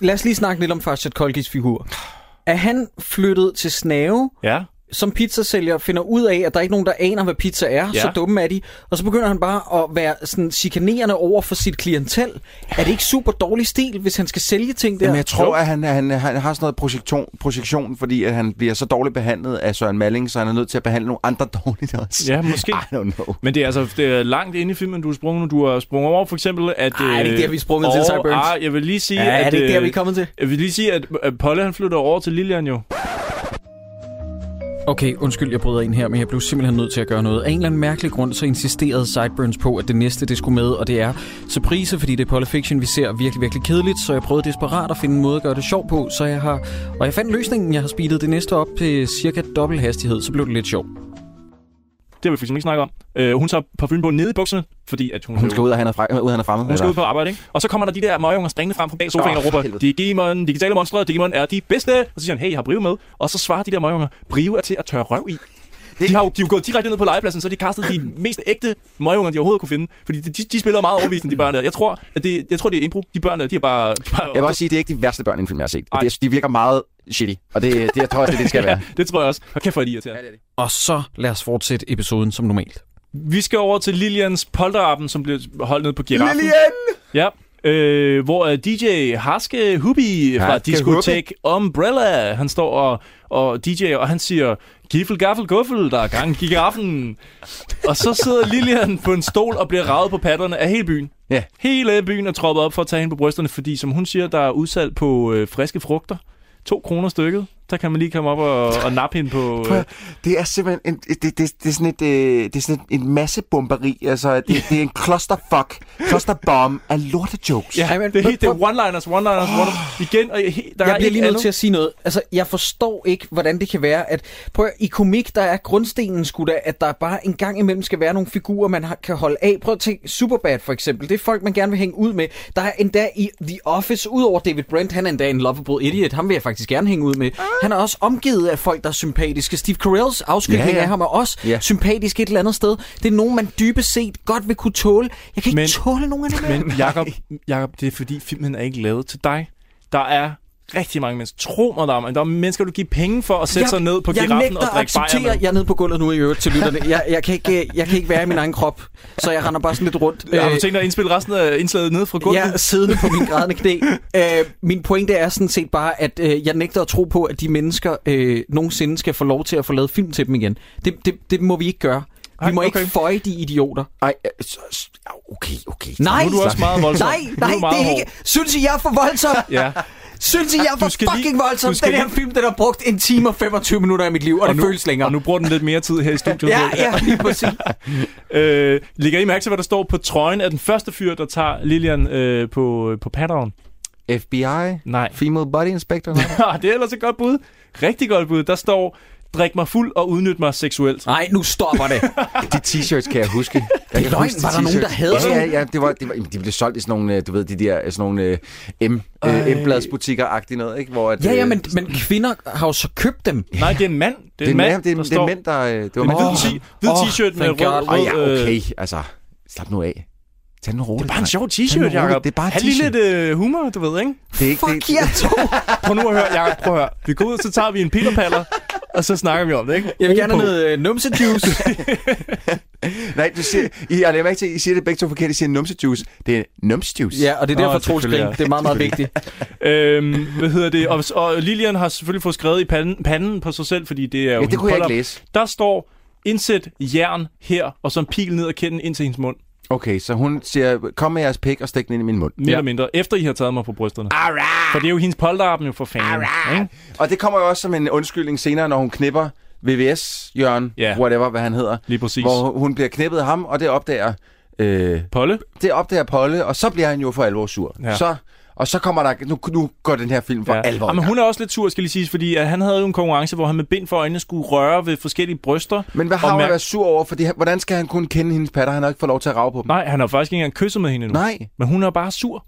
S1: Lad os lige snakke lidt om Farshad Kolkis figur. Er han flyttet til Snave,
S6: Ja.
S1: som pizzasælger finder ud af, at der er ikke nogen, der aner, hvad pizza er. Ja.
S6: Ja.
S1: Så dumme er de. Og så begynder han bare at være sådan chikanerende over for sit klientel. Er det ikke super dårlig stil, hvis han skal sælge ting der?
S7: Jamen, jeg tror,
S1: Jo.
S7: at han, han, han har sådan noget projektion, projektion, fordi at han bliver så dårligt behandlet af Søren Malling, så han er nødt til at behandle nogle andre (laughs) dårligt også.
S6: Ja, måske.
S7: I don't know.
S6: Men det er altså det er langt inde i filmen, du har sprunget nu. Du har sprunget over for eksempel, at...
S1: Ej, det er ikke der, vi er sprunget til, Cy Burns.
S6: Ah, jeg vil lige sige,
S1: Ja,
S6: at...
S1: er det ikke der,
S6: øh,
S1: vi er kommet til?
S6: Jeg vil lige sige, at, at Polle han flytter over til Lilian jo.
S8: Okay, undskyld, jeg bryder ind her, men jeg blev simpelthen nødt til at gøre noget. Af en eller anden mærkelig grund, så insisterede Sideburns på, at det næste, det skulle med, og det er surprise, fordi det Pulp Fiction, vi ser, er virkelig, virkelig kedeligt, så jeg prøvede desperat at finde en måde at gøre det sjov på, så jeg har... Og jeg fandt løsningen, jeg har speedet det næste op til cirka dobbelt hastighed, så blev det lidt sjovt.
S6: Det har vi for eksempel ikke snakket om. Øh, hun tager parfume på nede i bukserne, fordi at hun,
S7: Hun skal ud og han er, fra, ud, han er fremme.
S6: Hun skal ud på arbejde, ikke? Og så kommer der de der møgeunger springende frem fra bag sofaen
S7: Åh,
S6: og råber,
S7: helvede.
S6: Digimon, digitale monstre, Digimon er de bedste. Og så siger han, hey, jeg har Brio med. Og så svarer de der møgeunger, Brio er til at tørre røv i. De har jo, de er jo gået direkte ned på legepladsen, så de kastede
S7: (clears throat)
S6: de mest ægte møgeunger, de overhovedet kunne finde. Fordi de, de spiller meget overbevisende, de børn der. Jeg tror, at det, jeg tror, det er impro. De børn der, de er bare... De er bare
S7: Jeg vil også sige, at det er ikke de værste børn, i en film, jeg har set. Det, er- de virker meget shitty, og det, det jeg tror også, det, er det (laughs) det skal være.
S6: det tror jeg også. Og kæft, hvor er de irriterende.
S8: Og så lad os fortsætte episoden som normalt.
S6: Vi skal over til Lilians polterappen, som bliver holdt ned på giraffen.
S7: Lilian!
S6: Ja. Øh, hvor øh, DJ Haske Hubi fra
S7: Haske
S6: Diskotek Umbrella, han står og, og DJ, og han siger, Giffel, gaffel, guffel, der er gang i giraffen. og så sidder Lilian på en stol og bliver ravet på patterne af hele byen.
S7: Ja.
S6: Hele byen er troppet op for at tage hende på brysterne, fordi som hun siger, der er udsalg på øh, friske frugter. To kroner stykket. Der kan man lige komme op og, og nappe hende på...
S7: Prøv,
S6: Øh,
S7: at- det er simpelthen en, det, det, det, er sådan et, øh, det er sådan et, en masse bomberi. Altså, det, det er en clusterfuck, clusterbomb af lortejokes.
S6: Ja, men det, er helt- det er one-liners, one-liners, one-liners. Igen, og he,
S1: Der
S6: der
S1: jeg
S6: er
S1: bliver lige
S6: et
S1: nødt
S6: andet.
S1: til at sige noget. Altså, jeg forstår ikke, hvordan det kan være, at... Prøv at, i komik, der er grundstenen sgu da, at der bare en gang imellem skal være nogle figurer, man har, kan holde af. Prøv at tænke, Superbad for eksempel, det er folk, man gerne vil hænge ud med. Der er endda i The Office, udover David Brent, han er endda en lovable idiot, ham vil jeg faktisk gerne hænge ud med. Han er også omgivet af folk, der er sympatiske. Steve Carells afskygning
S7: Ja,
S1: ja,
S7: ja.
S1: ja. af ham er også
S7: Ja.
S1: ja. sympatisk et eller andet sted. Det er nogen, man dybest set godt vil kunne tåle. Jeg kan ikke
S6: Men-
S1: men, tåle nogen af dem. her.
S6: Men (laughs) Jakob, Jakob, det er fordi filmen er ikke lavet til dig. Der er rigtig mange mennesker. Tro mig, der er, der er mennesker, du giver penge for at sætte sig ned på
S1: jeg
S6: giraffen
S1: nægter
S6: og
S1: at
S6: drikke bajer
S1: acceptere,
S6: med.
S1: jeg er nede på gulvet nu i øvrigt til lytterne. Jeg, jeg, kan ikke, jeg kan ikke være i min egen krop, så jeg render bare sådan lidt rundt. øh,
S6: Har du tænkt dig at indspille resten af indslaget ned fra gulvet?
S1: jeg siddende på min grædende knæ. Øh, min pointe er sådan set bare, at øh, jeg nægter at tro på, at de mennesker øh, nogensinde skal få lov til at få lavet film til dem igen. Det, det, det må vi ikke gøre. Vi
S6: Ej,
S1: må
S6: okay.
S1: ikke føje de idioter.
S7: Ej, øh, så- så- okay, okay.
S1: Nej,
S6: Nu er du også meget voldsom.
S1: nej,
S6: Nu er du
S1: nej,
S6: meget
S1: det er ikke. Synes I, jeg er for voldsom?
S6: (laughs) Ja.
S1: Synes I, jeg er
S6: Du
S1: for
S6: skal lige-
S1: fucking voldsom?
S6: du skal
S1: Den her
S6: lige-
S1: film, den har brugt en time og 25 minutter af mit liv, og,
S6: Og
S1: det
S6: nu,
S1: føles længere.
S6: og nu bruger den lidt mere tid her i studiet.
S1: ja, ja, lige præcis.
S6: (laughs) Øh, lægger I mærke til, hvad der står på trøjen af den første fyr, der tager Lilian øh, på, på patteren?
S7: FBI,
S6: Nej.
S7: Female Body Inspector.
S6: (laughs) Ah, det er ellers et godt bud. Rigtig godt bud. Der står, drik mig fuld og udnyt mig seksuelt.
S1: Nej, nu stopper det.
S7: De t-shirts kan jeg huske. Jeg (laughs) det
S1: løgn. Var der nogen, der havde
S7: ja,
S1: sådan
S7: ja, ja, det var, det var, jamen, de blev solgt i sådan nogle, øh, du ved, de der øh, sådan nogle øh, M, øh, M-bladsbutikker-agtigt noget, ikke? Hvor at,
S1: Ja, ja,
S7: øh,
S1: men, men kvinder har jo så købt dem.
S6: Nej, det er en mand. Det
S7: Det
S6: er
S7: er,
S6: en
S7: mand,
S6: mand,
S7: det, er, det,
S6: der
S7: er, det er
S6: står.
S7: mænd, der... øh, Det var
S6: Det er en
S7: mand.
S6: hvid, t- hvid t-shirt med
S1: thank God.
S6: rød,
S7: Åh,
S6: rød,
S7: ja,
S6: øh,
S7: okay, altså. Slap nu af. Tag den roligt.
S6: Det er bare en
S7: dreng.
S6: sjov
S7: Tag den
S6: t-shirt,
S7: roligt.
S6: Jacob.
S7: Det er bare en
S6: Han lige lidt
S7: t-shirt.
S6: øh, humor, du ved, ikke?
S7: Det er ikke,
S1: Fuck jer to!
S6: Prøv nu at høre, Jacob, prøv at høre. Vi går ud, så tager vi en pillerpaller, og så snakker vi om det, ikke?
S1: Jeg vil
S6: Ro
S1: gerne
S6: på.
S1: have noget øh, numsejuice. (laughs)
S7: Nej, du siger, I, jeg lægger ikke til, I siger det begge to forkert. I siger numsejuice. Det er numsejuice.
S1: ja, og det er
S6: Nå,
S1: derfor, Troels
S6: selvfølgelig,
S1: griner.
S6: ja.
S1: Det er meget, meget vigtigt.
S6: Øhm, hvad hedder det? Og, og Lilian har selvfølgelig fået skrevet i panden, panden på sig selv, fordi det er jo
S7: Ja, det
S6: hendes
S7: kunne jeg ikke
S6: pull-up.
S7: læse.
S6: Der står, indsæt jern her, og så en pil ned og kenden ind til hendes mund.
S7: Okay, så hun siger, kom med jeres pik og stik den ind i min mund.
S6: Mere ja. eller mindre, efter I har taget mig på brysterne.
S7: Alright.
S6: For det er jo hendes polterappen jo for fanden. ikke?
S7: Og det kommer jo også som en undskyldning senere, når hun knipper VVS, Jørgen,
S6: Ja.
S7: yeah. whatever, hvad han hedder.
S6: Lige præcis.
S7: Hvor hun bliver knippet af ham, og det opdager, øh,
S6: Polle?
S7: det opdager Polle, og så bliver han jo for alvor sur.
S6: Ja.
S7: Så, og så kommer der, nu, nu går den her film for ja. alvor. i
S6: men
S7: gang.
S6: hun er også lidt sur, skal lige siges, fordi at han havde jo en konkurrence, hvor han med bind for øjnene skulle røre ved forskellige bryster.
S7: Men hvad har
S6: og
S7: hun
S6: mærke-
S7: at være sur over? Fordi, han- hvordan skal han kunne kende hendes patter? Han har ikke fået lov til at rave på dem.
S6: Nej, han har faktisk ikke engang kysset med hende endnu.
S7: Nej.
S6: Men hun er bare sur.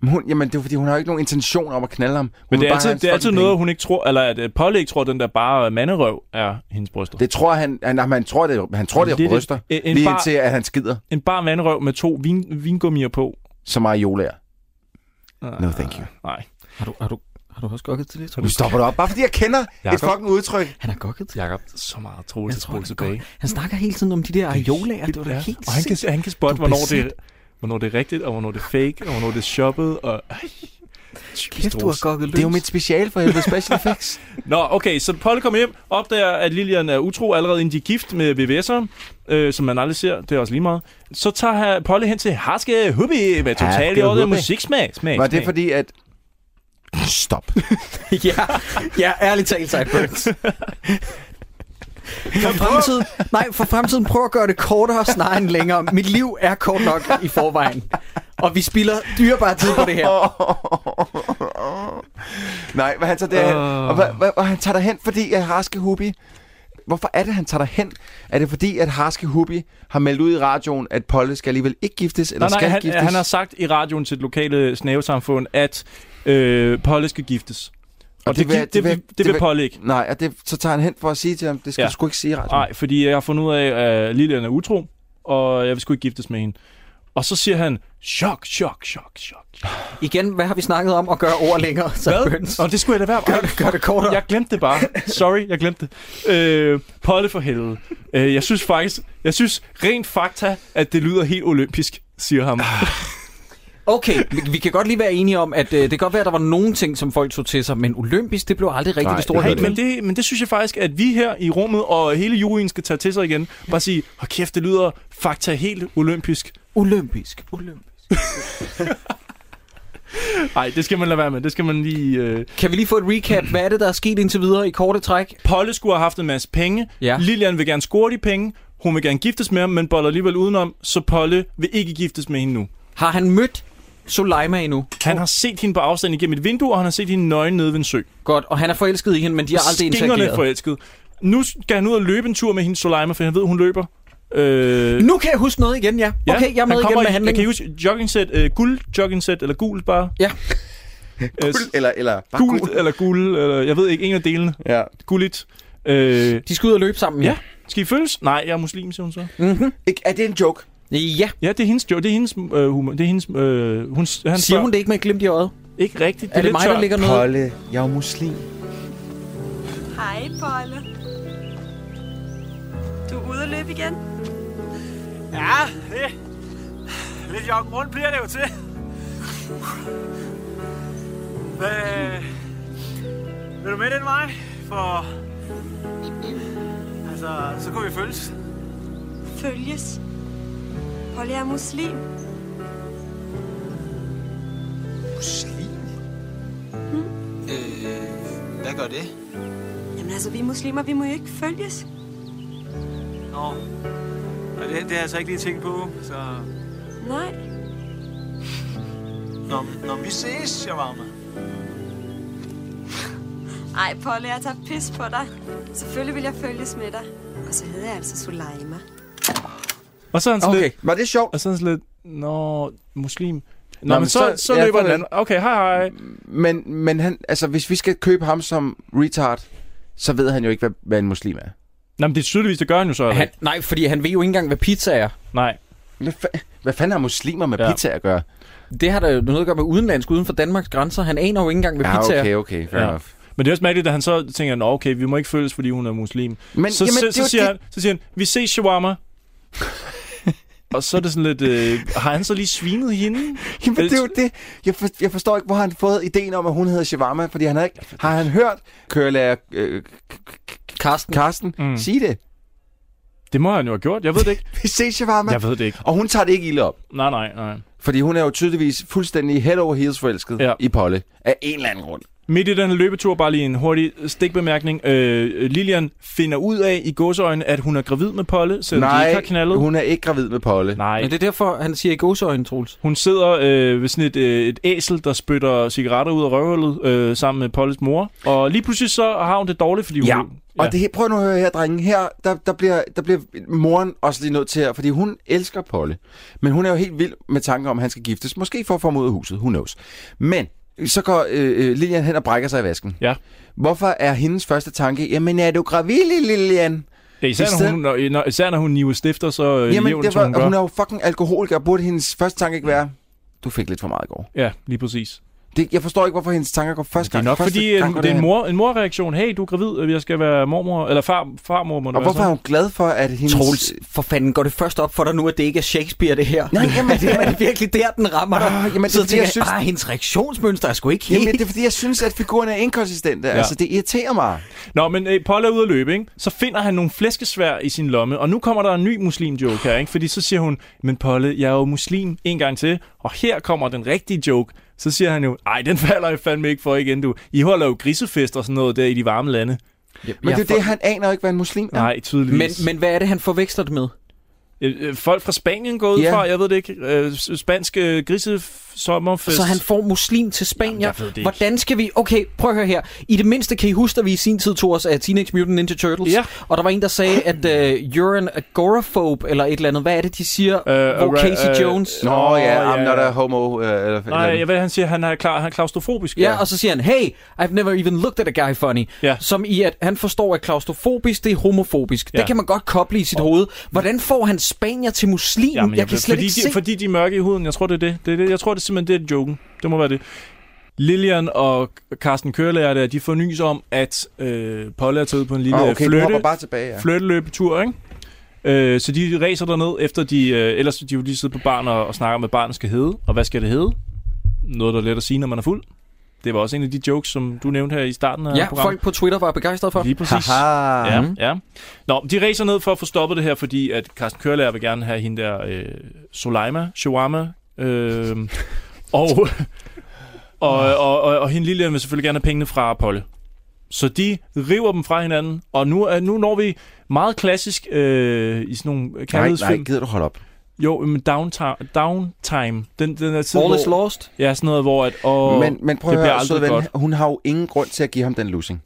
S7: Men Hun, jamen, det er jo, fordi, hun har jo ikke nogen intention om at knalde ham. Hun
S6: Men
S7: vil
S6: det er
S7: bare
S6: altid,
S7: have hans
S6: det er altid
S7: fucking
S6: noget,
S7: penge.
S6: hun ikke tror, eller at øh, Polly ikke tror, den der bare øh, manderøv er hendes bryster. Det.
S7: Det tror han, han, han, han tror det, han tror det,
S6: Det er
S7: det
S6: det-
S7: bryster.
S6: en- en
S7: lige
S6: bar-
S7: indtil, at han skider
S6: En bare manderøv med to vin, vingummier på.
S7: så meget jolaer.
S6: Ah,
S7: No, thank you.
S6: Nej.
S1: Har du, har du, har du også gokket til det,
S7: Nu
S1: Troels?
S7: stopper du op, bare fordi jeg kender et
S6: Jakob.
S7: fucking udtryk.
S1: Han har gokket til det.
S6: Jakob, så meget troligt
S1: Jeg
S6: at
S1: tror, han,
S6: spole
S1: har
S6: tilbage.
S1: gokket. han snakker hele tiden om de der areolaer. Det var da
S6: Ja.
S1: helt
S6: Og han
S1: sindssygt.
S6: kan, han kan spotte,
S1: Du er
S6: hvornår det, er-
S1: besat.
S6: hvornår det er rigtigt, og hvornår det er fake, og hvornår det er shoppet. Og... Ej,
S1: Kæft, du har gokket løs.
S7: Det er jo mit speciale for helvede
S6: (laughs)
S7: special effects.
S6: Nå, okay, så Polly kommer hjem, opdager, at Lilian er utro allerede inden de er gift med VVS'eren, øh, som man aldrig ser, det er også lige meget. Så tager han Polly hen til Haske Hubby med totalt
S7: Haske
S6: i ordet
S7: Hubby.
S6: musiksmag. Smag,
S7: Var det
S6: smag.
S7: fordi, at... Stop.
S1: ja, ja, ærligt talt, Sideburns. (laughs) For fremtiden, nej, for fremtiden prøv at gøre det kortere snarere end længere. Mit liv er kort nok i forvejen. Og vi spilder dyrebar tid på det
S6: (laughs)
S1: her.
S7: Nej, men han tager derhen.
S1: Åh.
S7: Og, hva, hva, og han tager derhen, fordi at Harske Hubi... Hvorfor er det, han tager derhen? Er det fordi, at Harske Hubi har meldt ud i radioen, at Polle skal alligevel ikke giftes, eller
S6: Nej, nej,
S7: skal
S6: han,
S7: giftes?
S6: han har sagt i radioen til det lokale snævesamfund, at øh, Polly skal giftes. Og, og det, det, vil, det, det, vil, det vil Polly ikke.
S7: Nej, og det, så tager han hen for at sige til ham, det skal
S6: Ja.
S7: ja. du sgu ikke sige i radioen.
S6: Nej, fordi jeg har fundet ud af, at Lilian er utro, og jeg vil sgu ikke giftes med hende. Og så siger han, chok, chok, chok, chok. (laughs)
S1: Igen, hvad har vi snakket om at gøre ord længere? Så
S6: Hvad? Og det skulle jeg da være. Gør det,
S1: gør det kortere.
S6: Jeg glemte det bare. Sorry, jeg glemte det. Øh, Polly for helvede. Øh, jeg synes faktisk, jeg synes rent fakta, at det lyder helt olympisk, siger ham.
S1: Ah, Okay, vi- vi kan godt lige være enige om, at øh, det kan godt være, at der var nogle ting, som folk tog til sig, men olympisk, det blev aldrig rigtig det store
S6: Nej,
S1: hit.
S6: men det, men det synes jeg faktisk, at vi her i rummet og hele juryen skal tage til sig igen. Bare sige, hold kæft, det lyder fakta helt olympisk.
S1: Olympisk, olympisk.
S6: Nej, det skal man lade være med. Det skal man lige... Øh...
S1: Kan vi lige få et recap? Hvad er det, der er sket indtil videre i korte træk?
S6: Polle skulle have haft en masse penge.
S1: Ja.
S6: Lilian vil gerne score de penge. Hun vil gerne giftes med ham, men boller alligevel udenom, så Polle vil ikke giftes med hende nu.
S1: Har han mødt Soleima endnu?
S6: Han har set hende på afstand igennem et vindue, og han har set hende nøgen nede ved en sø.
S1: Godt, og han er forelsket i hende, men de har aldrig
S6: Stingerne
S1: interageret.
S6: forelsket. Nu skal han ud og løbe en tur med hende Soleima, for han ved, hun løber. Øh,
S1: Nu kan jeg huske noget igen, ja. Okay, jeg er
S6: han
S1: med igen med
S6: kommer i- Jeg kan I
S1: handlingen.
S6: huske joggingsæt, øh, guld joggingsæt, eller gul bare. Øh,
S1: Ja.
S6: guld,
S7: eller, eller bare
S6: gult, eller guld, eller jeg ved ikke, en af delene.
S7: Ja.
S6: Gulligt. Øh,
S1: De skal ud og løbe sammen, ja.
S6: ja. Skal I følges? Nej, jeg er muslim, siger hun så.
S1: Mm-hmm.
S7: Ikke- Er det en joke?
S1: Ja.
S6: Ja, det er hendes, jo, det er hendes øh, humor. Det er hendes, øh, hun, s- han
S1: Siger hun det ikke med et glimt i øjet?
S6: Ikke rigtigt.
S1: Er det mig, der ligger noget?
S7: Polle, jeg er muslim.
S11: Hej, Polle. Du er ude at løbe igen?
S8: Ja, det. Lidt joggen rundt bliver det jo til. Øh, vil du med den vej? For... Altså, så kunne vi følges.
S11: Følges. Polle er muslim.
S15: Muslim? Øh, hvad gør det?
S11: Hmm? Jamen altså, vi muslimer, vi må jo ikke følges.
S8: Nå. Og det, det har jeg så ikke lige tænkt på, så...
S11: Nej.
S15: Når, når vi ses, Shawarma.
S11: Ej, Polle, jeg tager pis på dig. Selvfølgelig vil jeg følges med dig. Og så hedder jeg altså Suleima.
S6: Og så er han sådan
S7: Okay,
S6: lidt,
S7: var det sjovt?
S6: Og så er han sådan lidt, nå, muslim. Nå,
S7: Nå,
S6: men,
S7: men
S6: så, så,
S7: så- ja,
S6: løber
S7: sådan
S6: han. Okay, hej hej.
S7: Men, men han, altså, hvis vi skal købe ham som retard, så ved han jo ikke, hvad, hvad en muslim er.
S6: Nå, men det er tydeligvis, det gør han jo så. eller
S1: Han,
S6: ikke?
S1: nej, fordi han ved jo ikke engang, hvad pizza er.
S6: Nej.
S7: Hvad, fa- hvad fanden har muslimer med
S6: Ja.
S7: ja. pizza at gøre?
S1: Det har der jo noget at gøre med udenlandsk, uden for Danmarks grænser. Han aner jo ikke engang, hvad
S7: Ja,
S1: pizza er.
S7: okay, okay, fair
S6: Ja.
S7: ja. enough.
S6: Men det er også mærkeligt, at han så tænker, Nå, okay, vi må ikke følges, fordi hun er muslim.
S7: Men-
S6: så,
S7: jamen,
S6: så,
S7: det
S6: så,
S7: var
S6: siger
S7: det-
S6: han, så siger han, vi ses
S7: (laughs)
S6: shawarma. og så er det sådan lidt, øh, har han så lige svinet hende?
S7: Jamen, det er jo det. Jeg, for, jeg forstår ikke, hvor har han fået ideen om, at hun hedder Shawarma, fordi han har ikke... Har han hørt kørelærer øh,
S1: Karsten.
S7: Karsten
S6: Mm.
S7: mm. sige det?
S6: Det må han jo have gjort, jeg ved det ikke.
S7: Vi ses, Shawarma.
S6: Jeg ved det ikke.
S7: Og hun tager det ikke ilde op.
S6: Nej, nej, nej.
S7: Fordi hun er jo tydeligvis fuldstændig head over heels forelsket
S6: Ja.
S7: ja. i Polle. Af en eller anden grund.
S6: Midt i den her løbetur, bare lige en hurtig stikbemærkning. Øh, Lilian finder ud af i godseøjne, at hun er gravid med Polle, selvom de ikke har knaldet.
S7: hun er ikke gravid med Polle.
S6: Nej,
S1: Men det er derfor, han siger i godsøjne, Troels.
S6: Hun sidder øh, ved sådan et, øh, et æsel, der spytter cigaretter ud af røvhullet øh, sammen med Polles mor. Og lige pludselig så har hun det dårligt, fordi hun...
S7: Ja. Og det, her- prøv nu at høre her, drenge. Her, der, der, bliver, der bliver moren også lige nødt til at... Fordi hun elsker Polle. Men hun er jo helt vild med tanken om, at han skal giftes. Måske for at få ham ud af huset. Who knows. Men så går øh, øh, Lilian hen og brækker sig i vasken.
S6: Ja.
S7: Hvorfor er hendes første tanke, jamen er du gravid, Lilian?
S6: Ja, især,
S7: I
S6: når
S7: stedet-
S6: hun, når, når, især når hun niver stifter, så øh,
S7: Jamen,
S6: jævnt,
S7: det
S6: som hun
S7: var,
S6: gør.
S7: hun er jo fucking alkoholiker, og burde hendes første tanke ikke være, du fik lidt for meget i går.
S6: Ja, lige præcis.
S7: Det, jeg forstår ikke, hvorfor hendes tanker går første
S6: Det er
S7: gang.
S6: nok
S7: første
S6: fordi, en,
S7: gang går
S6: det er en,
S7: derhen.
S6: mor, en morreaktion. Hey, du er gravid, øh, jeg skal være mormor, eller far, farmor, må det
S7: Og
S6: være
S7: hvorfor er hun glad for, at hendes...
S1: Troels, for fanden går det først op for dig nu, at det ikke er Shakespeare, det her?
S7: Nej, jamen, det,
S1: (laughs) Er det virkelig der, den rammer dig?
S7: Ah, jamen,
S1: så
S7: det er,
S1: tænker jeg,
S7: jeg synes-
S1: ah, hendes reaktionsmønster er sgu ikke helt...
S7: Jamen, det er fordi, jeg synes, at figuren er inkonsistente. Ja. Altså, det irriterer mig.
S6: sådan? Nå, men øh, Polle er ude at løbe, ikke? Så finder han nogle flæskesvær i sin lomme, og nu kommer der en ny muslim-joke her, ikke? Fordi så siger hun, men Polle, jeg er jo muslim en gang til, og her kommer den rigtige joke. Så siger han jo, ej, den falder jeg fandme ikke for igen, du. I holder jo grisefest og sådan noget der i de varme lande.
S1: Ja,
S7: Men det er jo det, han aner ikke, hvad en muslim er.
S6: Nej, tydeligvis.
S1: Men, men hvad er det, han forveksler det med?
S6: Øh, øh, Folk fra Spanien går ud
S1: Ja.
S6: fra, jeg ved det ikke, øh, s- spansk øh, grisesommerfest.
S1: Så han får muslim til Spanien.
S6: jeg ved det ikke.
S1: Hvordan skal vi... Okay, prøv at høre her. I det mindste kan I huske, at vi i sin tid tog os af Teenage Mutant Ninja Turtles.
S6: Ja.
S1: Og der var en, der sagde, at uh, you're an agoraphobe, eller et eller andet. Hvad er det, de siger? Uh, hvor
S6: ara-
S1: Casey
S6: øh,
S1: Jones...
S7: Nå
S6: Nå,
S7: ja,
S6: ja,
S7: I'm
S6: ja.
S7: not a homo. Øh, eller,
S6: Nej, jeg ved, han siger, han er, klar, han er klaustrofobisk.
S1: Ja, og så siger han, hey, I've never even looked at a guy funny. Ja. Som i, at han forstår, at klaustrofobisk, det er homofobisk. Ja.
S6: Ja.
S1: Det kan man godt koble i sit hoved. Hvordan får han Spanier til muslim?
S6: Jamen,
S1: jeg, jeg kan slet
S6: fordi,
S1: ikke
S6: de,
S1: se.
S6: fordi de er mørke i huden, jeg tror, det er det. det, er det. Jeg tror, det er simpelthen det, er joken. Det må være det. Lilian og Carsten Kørlærer der, de fornys om, at øh, Polly er taget ud på en lille
S7: Ah, okay, du
S6: flytte,
S7: hopper bare tilbage, ja.
S6: flytteløbetur, ikke? Øh, så de racer derned, efter de... Øh, ellers de jo lige sidder på barn og, og snakker om, hvad barnet skal hedde. Og hvad skal det hedde? Noget, der er let at sige, når man er fuld. Det var også en af de jokes, som du nævnte her i starten af
S1: Ja,
S6: programmet.
S1: folk på Twitter var begejstrede for.
S6: Lige præcis.
S1: Haha.
S6: Ja,
S7: Mm.
S1: Mhm.
S6: ja. Nå, de racer ned for at få stoppet det her, fordi at Carsten Kørlager vil gerne have hende der øh, Soleima, Shawarma, øh,
S7: (laughs)
S6: og, og, og, og, og hende Lilian vil selvfølgelig gerne have pengene fra Polle. Så de river dem fra hinanden, og nu, er- nu når vi meget klassisk øh, i sådan nogle
S7: nej,
S6: kærlighedsfilm.
S7: nej, gider du holde op?
S6: Jo, men downtime, downtime den, den er tid,
S7: All
S6: hvor,
S7: is lost?
S6: Ja, sådan noget, hvor at, åh,
S7: men, men prøv
S6: det
S7: at
S6: bliver
S7: høre,
S6: aldrig
S7: søde ven,
S6: godt.
S7: hun har jo ingen grund til at give ham den losing.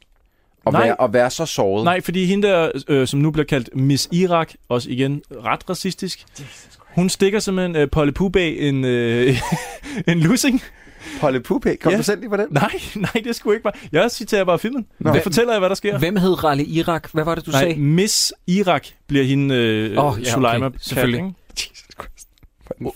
S7: Og,
S6: Nej.
S7: være, og være så såret.
S6: Nej, fordi hende der, øh, som nu bliver kaldt Miss Irak, også igen ret racistisk, hun stikker simpelthen øh, Polly Poo bag en, øh, (laughs) en lussing.
S7: Polly Pupæ, kom du selv lige på den?
S6: Nej, nej, det skulle ikke bare. Jeg citerer bare filmen. Nå. Det fortæller jeg, hvad der sker.
S1: Hvem hed Rally Irak? Hvad var det, du
S6: nej,
S1: sagde?
S6: Miss Irak bliver hende øh,
S1: Åh,
S6: oh,
S1: ja,
S6: Sulaima
S1: okay, selvfølgelig.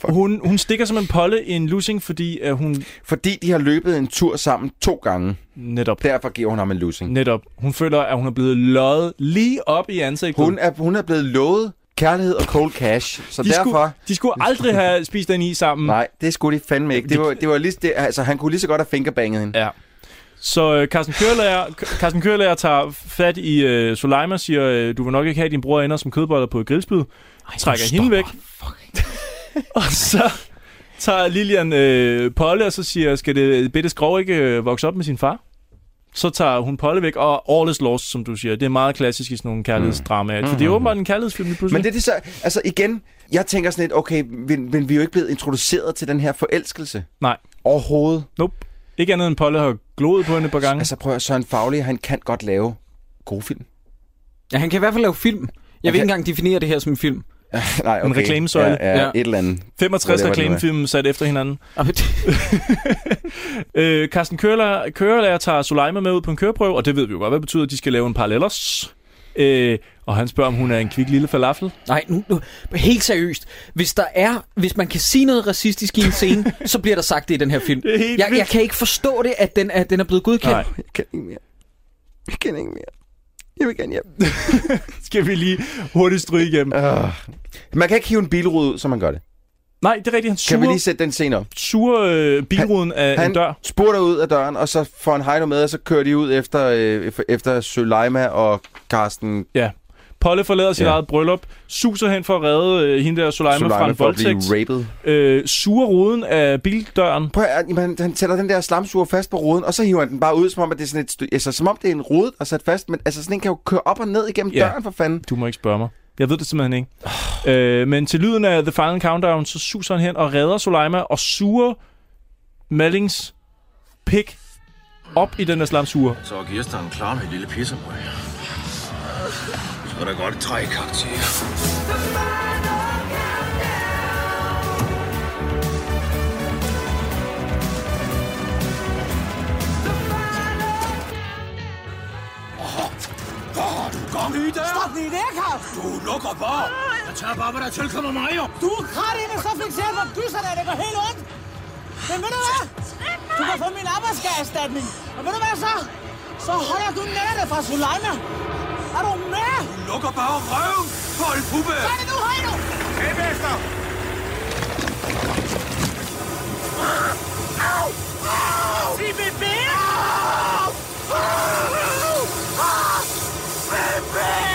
S6: Hun, hun stikker simpelthen Polly i en lussing, fordi at hun
S7: Fordi de har løbet en tur sammen to gange.
S6: Netop.
S7: Derfor giver hun ham en losing.
S6: netop hun føler, at hun er blevet løjet lige op i ansigtet.
S7: Hun er, hun er blevet lovet kærlighed og cold cash. Så
S6: de,
S7: derfor...
S6: skulle, de skulle aldrig have spist den i sammen.
S7: Nej, det skulle Mm. de fandme ikke. Det var, det var lige, det, altså, han kunne lige så godt have fingerbanget hende.
S6: Ja. Så øh, Carsten, Kørlager, Carsten Kørlager tager fat i øh, Soleima siger, øh, du vil nok ikke have din bror ender som kødboller på et grillspyd. Trækker hende væk. (laughs) og så tager Lilian øh, Polle, og så siger, skal det bitte skrov ikke øh, vokse op med sin far? Så tager hun Polle væk, og All is lost, som du siger. Det er meget klassisk i sådan nogle kærlighedsdramaer. Mm. For det er åbenbart en kærlighedsfilm lige pludselig.
S7: Mm-hmm. Men det er det så... Altså igen, jeg tænker sådan lidt, okay, men, men vi er jo ikke blevet introduceret til den her forelskelse.
S6: Nej.
S7: Overhovedet.
S6: Nope. Ikke andet end Polle har gloet på hende et par gange.
S7: Altså prøv at høre, Søren Fagli, han kan godt lave gode film.
S1: Ja, han kan i hvert fald lave film. Jeg vil
S7: kan-
S1: ikke engang definere det her som en film.
S7: (laughs) Nej, okay.
S6: En reklamesøjle.
S7: Ja, ja,
S6: Ja.
S7: ja, et eller andet.
S6: 65
S7: Whatever det nu er.
S6: reklamefilm sat efter hinanden. øh, Carsten Kørelærer, Kørelærer tager Soleima med ud på en køreprøve, og det ved vi jo godt, hvad det betyder, at de skal lave en parallellers. Øh, og han spørger, om hun er en kvik lille falafel.
S1: Nej, nu, nu, helt seriøst. Hvis der er, hvis man kan sige noget racistisk i en
S6: (laughs)
S1: scene, så bliver der sagt det i den her film.
S6: Det er helt
S1: jeg, jeg
S6: vildt.
S1: kan ikke forstå det, at den er, den er blevet godkendt.
S6: Nej.
S7: Jeg kan ikke mere. Jeg kan ikke mere. Jeg vil gerne hjem.
S6: Skal vi lige hurtigt stryge igennem?
S7: Uh, man kan ikke hive en bilrude ud, som man gør det.
S6: Nej, det er rigtigt, han
S7: Kan vi lige
S6: suger,
S7: sætte den scene op?
S6: suger øh, bilruden af
S7: han
S6: en dør.
S7: spurter ud af døren, og så får han Heino med, og så kører de ud efter, øh, efter Søleima og Carsten
S6: Ja. Polle forlader sit
S7: Ja.
S6: eget bryllup, suser hen for at redde øh, hende der Soleima,
S7: Soleima
S6: fra en
S7: for at blive
S6: voldtægt.
S7: raped.
S6: Øh, suger ruden af bildøren.
S7: Prøv at, jamen, han- han sætter den der slamsuger fast på ruden, og så hiver han den bare ud, som om, at det er sådan et stykke... Altså, som om det er en rude, der er sat fast, men altså, sådan en kan jo køre op og ned igennem
S6: Ja.
S7: døren, for fanden.
S6: Du må ikke spørge mig. Jeg ved det simpelthen ikke. øh, men til lyden af The Final Countdown, så suser han hen og redder Soleima og suger Mallings pik op i den der slamsuger.
S2: Så er Kirsten klar med et lille pissebrød. Så er der godt tre karakterer.
S16: Kom i der! Stop lige der, Karl!
S2: Du lukker bare. Jeg tager bare, hvad der tilkommer mig jo.
S16: Du er krat ind, og så fik selv, hvor dysser dig, det går helt ondt! Men ved du hvad? Du kan få min arbejdsskadeerstatning. Og ved du hvad så? Så holder du nærene fra Suleima. Er du med?
S2: Du lukker bare røven. Hold puppe.
S16: Gør det nu, Heino! Kæmpe efter! Au! Au! Sig mit ben! Au! Au! Au! Mit ben!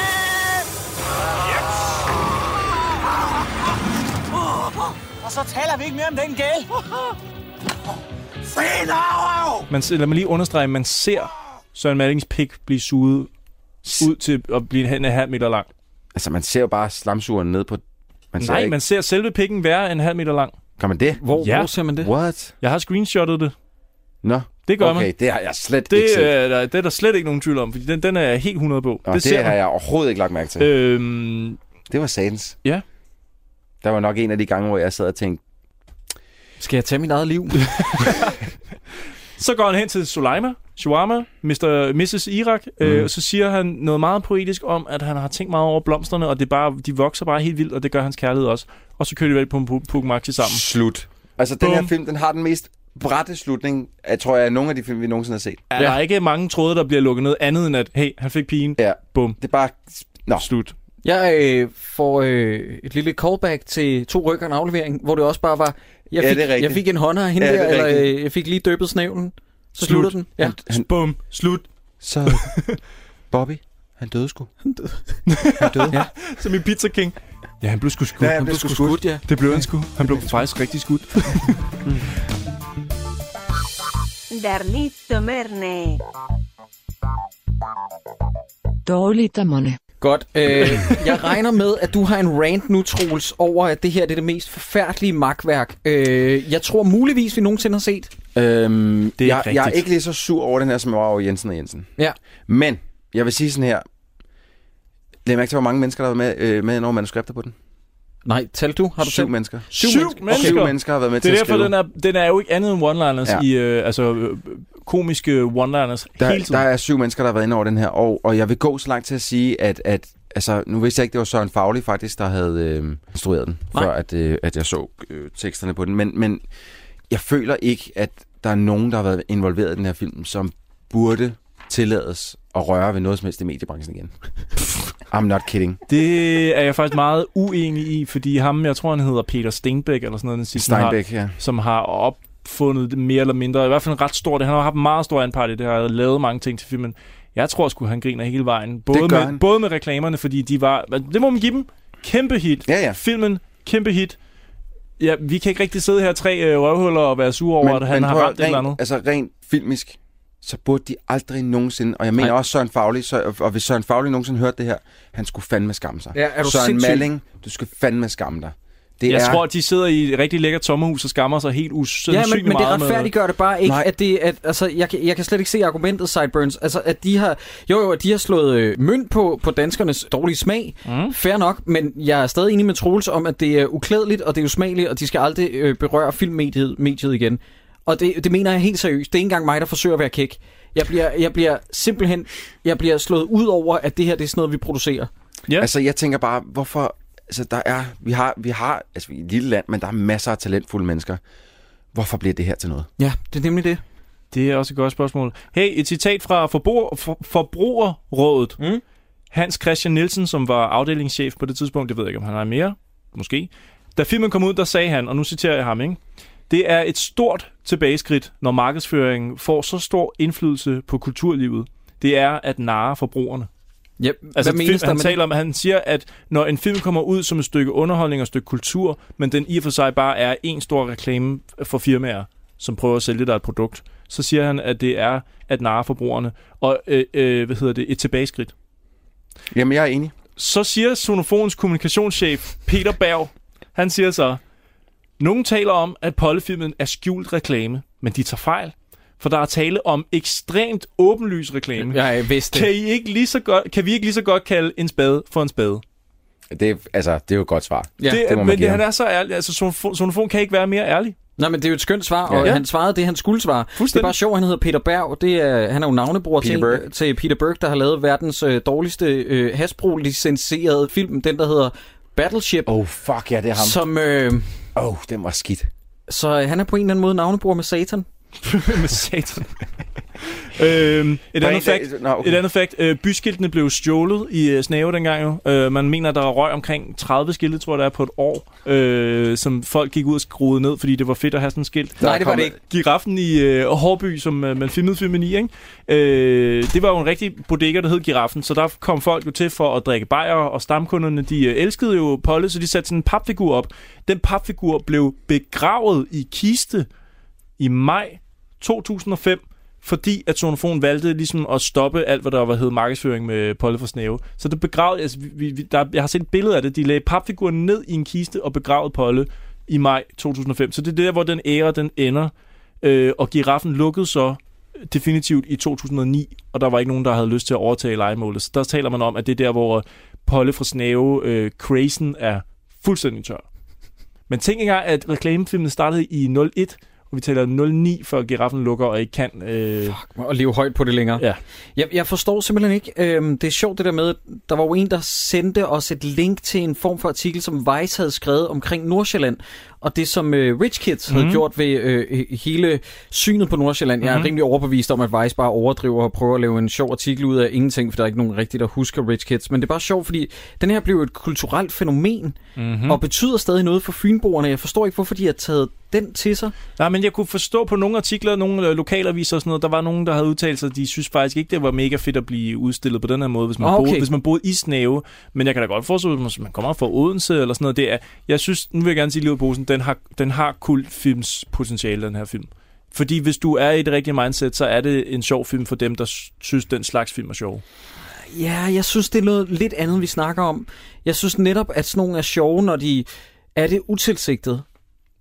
S17: Og så taler vi ikke mere om den gale.
S16: Fint, au, au!
S6: Man, se- lad mig lige understrege, man ser Søren Mallings pik blive suget ud til at blive en halv meter lang.
S7: Altså, man ser jo bare slamsugeren ned på... Man ser
S6: Nej,
S7: ikke.
S6: man ser selve pikken være en halv meter lang.
S7: Kan man det?
S6: Hvor, ja. hvor ser man det?
S7: What?
S6: Jeg har screenshottet det.
S7: Nå,
S6: Det gør
S7: okay,
S6: man.
S7: det har jeg slet
S6: det,
S7: ikke set.
S6: Øh, der- det er der slet ikke nogen tvivl om, fordi den, den er jeg helt 100 på.
S7: Nå, det,
S6: ser
S7: det har
S6: man.
S7: jeg overhovedet ikke lagt mærke til.
S6: Øhm,
S7: det var satans.
S6: Ja.
S7: Der var nok en af de gange, hvor jeg sad og tænkte,
S1: Skal jeg tage mit eget liv?
S6: Så går han hen til Sulaima, Shawarma, Mr. Mrs. Irak, mm. øh, og så siger han noget meget poetisk om, at han har tænkt meget over blomsterne, og det er bare, de vokser bare helt vildt, og det gør hans kærlighed også. Og så kører de vel på en pu- Pukumaxi sammen.
S7: Slut. altså, den her film, den har den mest brætte slutning, jeg tror jeg, er nogen af de film, vi nogensinde har set.
S6: Ja. Der er ikke mange tråde, der bliver lukket ned, andet end at, hey, han fik pigen.
S7: Ja.
S6: Bum.
S7: Det er bare... Nå.
S6: Slut.
S1: Jeg øh, får øh, et lille callback til to rykker en aflevering, hvor det også bare var, jeg
S7: Ja,
S1: fik,
S7: det er rigtigt.
S1: jeg fik en hånd af hende
S7: Ja,
S1: ja,
S7: det
S1: der,
S7: er
S1: eller
S7: rigtigt.
S1: øh, jeg fik lige døbet snævnen. Så slutter den. Ja.
S7: Han,
S6: Bum. Slut.
S7: Så Bobby, han døde sgu. Han døde. han døde. Ja.
S6: Som i Pizza King. Ja, han blev sgu skudt.
S7: Ja, han blev sgu skudt.
S1: ja.
S6: Det blev han sgu. Han blev faktisk rigtig skudt.
S3: Darnito Merne.
S18: Dårligt dommerne.
S1: Godt. Øh, jeg regner med, at du har en rant nu, Troels, over at det her det er det mest forfærdelige magtværk. Øh, jeg tror muligvis, vi nogensinde har set.
S7: Øhm, det
S1: er
S7: jeg,
S1: rigtigt.
S7: jeg er ikke lige så sur over den her, som jeg var over Jensen og Jensen.
S1: Ja.
S7: Men jeg vil sige sådan her. Læg mærke til, hvor mange mennesker, der var med, øh, med ind over manuskripter på den.
S1: Nej, tal du? Har du
S7: Syv
S1: talt?
S7: mennesker.
S1: Syv,
S7: mennesker. Syv mennesker har været med
S6: det er
S7: til at
S6: derfor,
S7: skrive.
S6: den er, den er jo ikke andet end one-liners
S7: Ja.
S6: ja. i, øh, altså øh, komiske one-liners hele
S7: Der,
S6: tiden.
S7: der er syv mennesker, der har været inde over den her år, og jeg vil gå så langt til at sige, at, at altså, nu vidste jeg ikke, det var Søren Fagli faktisk, der havde øh, instrueret den,
S1: Nej.
S7: før at, øh, at jeg så øh, teksterne på den. Men, men jeg føler ikke, at der er nogen, der har været involveret i den her film, som burde tillades at røre ved noget som helst i mediebranchen
S6: (laughs)
S7: igen. I'm not kidding.
S6: Det er jeg faktisk meget uenig i, fordi ham, jeg tror han hedder Peter Steinbeck eller sådan noget, den sidste,
S7: Steinbeck,
S6: har,
S7: ja.
S6: som har opfundet det mere eller mindre, i hvert fald en ret stor, det, han har haft en meget stor anpart i det her, og lavet mange ting til filmen. Jeg tror sgu, han griner hele vejen. Både,
S7: gør
S6: med,
S7: han.
S6: både med reklamerne, fordi de var, det må man give dem, kæmpe hit.
S7: Ja, ja.
S6: Filmen, kæmpe hit. Ja, vi kan ikke rigtig sidde her tre øh, røvhuller og være sure over, at han har
S7: prøv at-
S6: ramt et
S7: rent,
S6: eller andet.
S7: Altså rent filmisk, så burde de aldrig nogensinde, og jeg mener Nej. også Søren Fagli, så, og hvis Søren Fagli nogensinde hørte det her, han skulle fandme skamme sig.
S1: Ja, er du
S7: Søren
S1: sindssyg?
S7: Malling, du skal fandme skamme dig. Det
S6: jeg
S7: er,
S6: tror, at de sidder i et rigtig lækkert sommerhus og skammer sig helt
S1: Ja,
S6: usandsynligt
S1: men, men det
S6: meget med-
S1: retfærdiggør det bare ikke,
S6: Nej.
S1: at det, at, altså, jeg, kan- jeg kan slet ikke se argumentet, Sideburns, altså, at de har, jo jo, at de har slået øh, mønt på, på danskernes dårlige smag, mm. fair nok, men jeg er stadig enig med Troels om, at det er uklædeligt, og det er usmageligt, og de skal aldrig øh, berøre filmmediet mediet igen. Og det, det mener jeg helt seriøst. Det er ikke engang mig, der forsøger at være kæk. Jeg bliver, jeg bliver simpelthen jeg bliver slået ud over, at det her det er sådan noget, vi producerer.
S6: Ja.
S7: Altså, jeg tænker bare, hvorfor... Altså, der er... Vi har... Vi har altså, vi er et lille land, men der er masser af talentfulde mennesker. Hvorfor bliver det her til noget?
S1: Ja, det er nemlig det.
S6: Det er også et godt spørgsmål. Hey, et citat fra forbruger, for, Forbrugerrådet.
S1: Mm.
S6: Hans Christian Nielsen, som var afdelingschef på det tidspunkt, det ved jeg ikke, om han er mere, måske. Da filmen kom ud, der sagde han, og nu citerer jeg ham, ikke? Det er et stort tilbageskridt, når markedsføringen får så stor indflydelse på kulturlivet. Det er at narre forbrugerne.
S1: Ja,
S6: Altså,
S1: hvad menes
S6: film,
S1: der
S6: han
S1: med
S6: taler om, han siger, at når en film kommer ud som et stykke underholdning og et stykke kultur, men den i og for sig bare er en stor reklame for firmaer, som prøver at sælge dig et produkt, så siger han, at det er at narre forbrugerne, og øh, øh, hvad hedder det, et tilbageskridt.
S7: Jamen, jeg er enig.
S6: Så siger Sonofons kommunikationschef Peter Berg, han siger så, nogen taler om, at Pollefilmen er skjult reklame, men de tager fejl, for der er tale om ekstremt åbenlys reklame.
S1: Ja, jeg vidste
S6: Kan, I ikke lige så godt, kan vi ikke lige så godt kalde en spade for en spade?
S7: Det, er- altså, det er jo et godt svar.
S6: Ja, det, det
S7: må man
S6: men
S7: give
S6: han
S7: ham.
S6: er så ærlig. Altså, sonofon, sonofon kan ikke være mere ærlig.
S1: Nej, men det er jo et skønt svar, og
S6: Ja.
S1: ja. han svarede det, han skulle svare. Det er bare sjovt, han hedder Peter Berg. Det er, han er jo navnebror
S7: Peter
S1: til,
S7: Berg.
S1: til Peter Berg, der har lavet verdens øh, dårligste øh, Hasbro-licenserede film, den der hedder Battleship.
S7: Oh, fuck ja, det er ham.
S1: Som, øh,
S7: Åh, oh, den var skidt.
S1: så han er på en eller anden måde navnebror med Satan.
S6: (laughs) med Satan. øhm, et,
S1: På
S6: andet
S1: en dag-
S6: fact,
S1: Nå, okay.
S6: et andet fact. Øh, byskiltene blev stjålet i øh, Snave dengang jo. Øh, man mener, der er røg omkring 30 skilte, tror jeg, der er på et år, øh, som folk gik ud og skruede ned, fordi det var fedt at have sådan en skilt.
S1: Nej, det var det ikke.
S6: Giraffen i øh, Hårby, som øh, man filmede filmen i, ikke? Øh, det var jo en rigtig bodega, der hed Giraffen, så der kom folk jo til for at drikke bajer, og stamkunderne, de øh, elskede jo Polle, så de satte sådan en papfigur op. Den papfigur blev begravet i kiste i maj 2005, fordi at Sonofon valgte ligesom at stoppe alt, hvad der var hed markedsføring med Polde for Snæve. Så det begravede, altså, vi, vi, der, jeg har set et billede af det, de lagde papfiguren ned i en kiste og begravede Polde i maj 2005. Så det er der, hvor den ære den ender. Øh, og giraffen lukkede så definitivt i 2009, og der var ikke nogen, der havde lyst til at overtage legemålet. Så der taler man om, at det er der, hvor Polde fra Snæve, øh, Crazen, er fuldstændig tør. Men tænk engang, at reklamefilmen startede i 01, og vi taler 09, før giraffen lukker og ikke kan... Øh... Fuck,
S1: og leve højt på det længere.
S6: Ja.
S1: Jeg, jeg forstår simpelthen ikke. Øhm, det er sjovt det der med, der var jo en, der sendte os et link til en form for artikel, som Vice havde skrevet omkring Nordsjælland, og det som øh, Rich Kids havde
S19: Mhm.
S1: gjort ved øh, hele synet på Nordsjælland. Jeg er
S19: Mhm.
S1: rimelig overbevist om, at Vice bare overdriver og prøver at lave en sjov artikel ud af ingenting, for der er ikke nogen rigtig, der husker Rich Kids. Men det er bare sjovt, fordi den her blev et kulturelt fænomen,
S6: Mhm.
S1: og betyder stadig noget for fynboerne. Jeg forstår ikke, hvorfor de har taget den til sig.
S6: Nej, men jeg kunne forstå på nogle artikler, nogle øh, lokalaviser og sådan noget, der var nogen, der havde udtalt sig, at de synes faktisk ikke, det var mega fedt at blive udstillet på den her måde, hvis man,
S1: Ah,
S6: okay. boede,
S1: okay.
S6: hvis man boede i Snæve. Men jeg kan da godt forstå, hvis man kommer fra Odense eller sådan noget. Det er, jeg synes, nu vil jeg gerne sige, at Posen, den har, den har kultfilms potentiale, den her film. Fordi hvis du er i det rigtige mindset, så er det en sjov film for dem, der s- synes, den slags film er sjov.
S1: Ja, jeg synes, det er noget lidt andet, vi snakker om. Jeg synes netop, at sådan nogle er sjove, når de er det utilsigtet.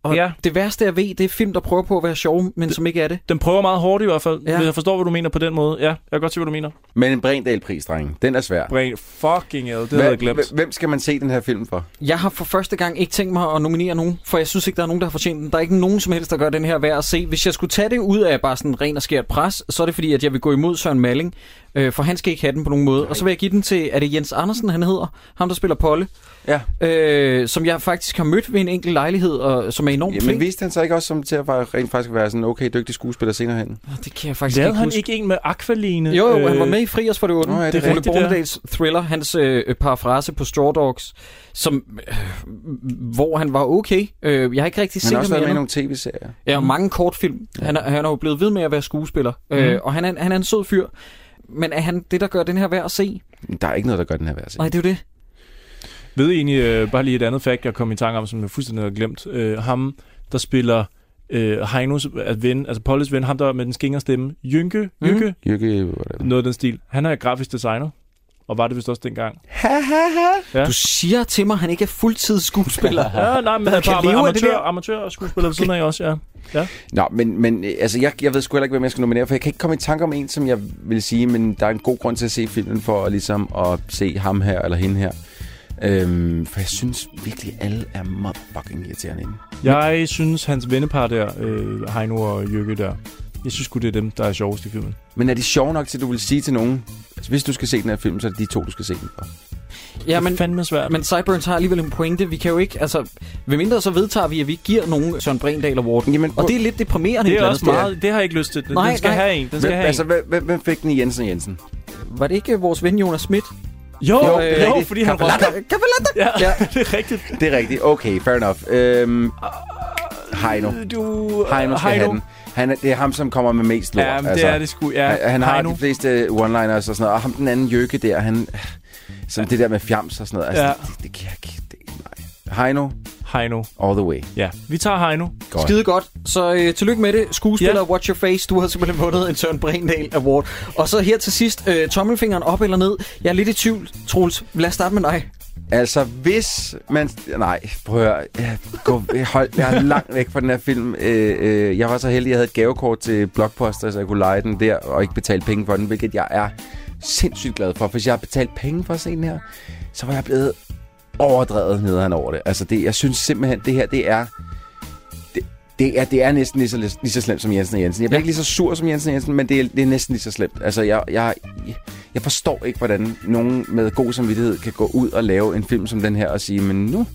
S1: Og ja. det værste, jeg ved, det er film, der prøver på at være sjove, men som ikke er det.
S6: Den prøver meget hårdt i hvert fald,
S1: Ja.
S6: ja. hvis jeg forstår, hvad du mener på den måde. Ja, jeg kan godt se, hvad du mener.
S7: Men en Brindal-pris, drenge, den er svær.
S6: Brain, fucking hell, det havde jeg glemt.
S7: Hvem skal man se den her film for?
S1: Jeg har for første gang ikke tænkt mig at nominere nogen, for jeg synes ikke, der er nogen, der har fortjent den. Der er ikke nogen som helst, der gør den her værd at se. Hvis jeg skulle tage det ud af bare sådan ren og skært pres, så er det fordi, at jeg vil gå imod Søren Malling, øh, for han skal ikke have den på nogen måde. Og så vil jeg give den til, er det Jens Andersen, han hedder? Ham, der spiller Polle.
S7: Ja.
S1: Øh, som jeg faktisk har mødt ved en enkelt lejlighed, og som er enormt
S7: Jamen,
S1: flink.
S7: viste han sig ikke også som til at være, rent faktisk være sådan en okay dygtig skuespiller senere hen?
S1: Det kan jeg faktisk
S6: Lavede
S1: ikke
S6: han
S1: huske.
S6: ikke en med Aqualine?
S1: Jo, jo, han var
S6: Øh,
S1: med i Friers for det 8.
S6: Nå, ja, det
S1: det,
S6: er
S1: det er Rune
S6: rigtigt, ja.
S1: Bornedals thriller, hans øh, parafrase på Straw Dogs, som, øh, hvor han var okay. Øh, jeg har ikke rigtig
S7: Han
S1: set
S7: har
S1: ham
S7: også været med i
S1: endnu.
S7: nogle tv-serier.
S1: Ja, og mange kortfilm. Ja. Han, er, han er jo blevet ved med at være skuespiller, mm. øh, og han er, en- han er en sød fyr. Men er han det, der gør den her værd at se?
S7: Men Der er ikke noget, der gør den her værd. at se.
S1: Nej, det er jo det.
S6: Ved I egentlig, øh, bare lige et andet fakt, jeg kom i tanke om, som jeg fuldstændig havde glemt. Øh, ham, der spiller øh, Heinos at ven, altså Polles ven, ham der med den skinger stemme, Jynke,
S1: Mhm.
S6: Jynke,
S7: Jykke, whatever.
S6: mm. noget af den stil. Han er grafisk designer, og var det vist også dengang.
S1: Ja. Du siger til mig, at han ikke er fuldtidsskuespiller.
S6: Ja, nej, men
S1: Der
S6: han
S1: kan
S6: er
S1: leve
S6: bare
S1: af det
S6: amatør,
S1: der.
S6: amatør og skuespiller ved siden af også, ja. ja.
S7: Nå, men, men øh, altså, jeg, jeg ved sgu heller ikke, hvem jeg skal nominere, for jeg kan ikke komme i tanke om en, som jeg vil sige, men der er en god grund til at se filmen for ligesom at se ham her eller hende her. Øhm, for jeg synes virkelig, alle er motherfucking irriterende inde.
S6: Jeg synes, hans vennepar der, øh, Heino og Jykke der, jeg synes sgu, det er dem, der er sjovest i filmen.
S7: Men er de sjove nok til, at du vil sige til nogen, altså, hvis du skal se den her film, så er det de to, du skal se den for?
S1: (laughs) Ja, men,
S6: fandme svært.
S1: Men Cyburns har alligevel en pointe. Vi kan jo ikke, altså... Ved mindre så vedtager vi, at vi ikke giver nogen Søren Brindahl Award.
S7: Jamen,
S1: og det er lidt deprimerende.
S6: Det
S1: et
S6: er
S1: eller
S6: også
S1: andet sted.
S6: meget, det har jeg ikke lyst til. Den,
S1: Nej,
S6: den skal
S1: nej.
S6: have en, den skal
S1: Hvem-
S6: have
S1: altså,
S6: en.
S7: Hvem, hvem, hvem fik den i Jensen og Jensen?
S1: Var det ikke vores ven Jonas Schmidt?
S6: Jo,
S7: Jo,
S6: jo,
S7: det er
S6: jo
S7: rigtigt.
S6: fordi han
S7: Kapalatter.
S6: Ja,
S1: ja,
S6: (laughs) det er rigtigt.
S7: Det er rigtigt. Okay, fair enough. Øhm, Heino.
S6: Du,
S7: Heino skal
S6: Heino.
S7: have den. Han er, det er ham, som kommer med mest lort. altså.
S6: Ja, men det er det sgu, ja.
S7: Han, han har
S6: Heino.
S7: de fleste one-liners og sådan noget. Og ham, den anden jøkke der, han... Som det der med fjams og sådan noget. Altså,
S6: Ja.
S7: ja. det, det kan jeg ikke... Det, nej. Heino.
S6: Heino.
S7: All the way.
S6: Ja, vi tager Heino.
S7: Godt.
S1: Skide godt. Så øh, tillykke med det. Skuespiller, yeah. watch your face. Du har simpelthen vundet en Søren Brindahl Award. Og så her til sidst, øh, tommelfingeren op eller ned. Jeg er lidt i tvivl, Troels. Lad os starte med dig.
S7: Altså, hvis man... Nej, prøv at høre. Jeg, gå, hold, jeg er langt væk fra den her film. Øh, øh, jeg var så heldig, at jeg havde et gavekort til Blockbuster, så jeg kunne lege den der og ikke betale penge for den, hvilket jeg er sindssygt glad for. For Hvis jeg havde betalt penge for at se den her, så var jeg blevet overdrevet nederen over det. Altså, det, jeg synes simpelthen, det her, det er... det- Det er, det er næsten lige så, lige så slemt som Jensen og Jensen. Jeg bliver ikke lige så sur som Jensen og Jensen, men det er, det er næsten lige så slemt. Altså, jeg, jeg, jeg forstår ikke, hvordan nogen med god samvittighed kan gå ud og lave en film som den her og sige, men nu,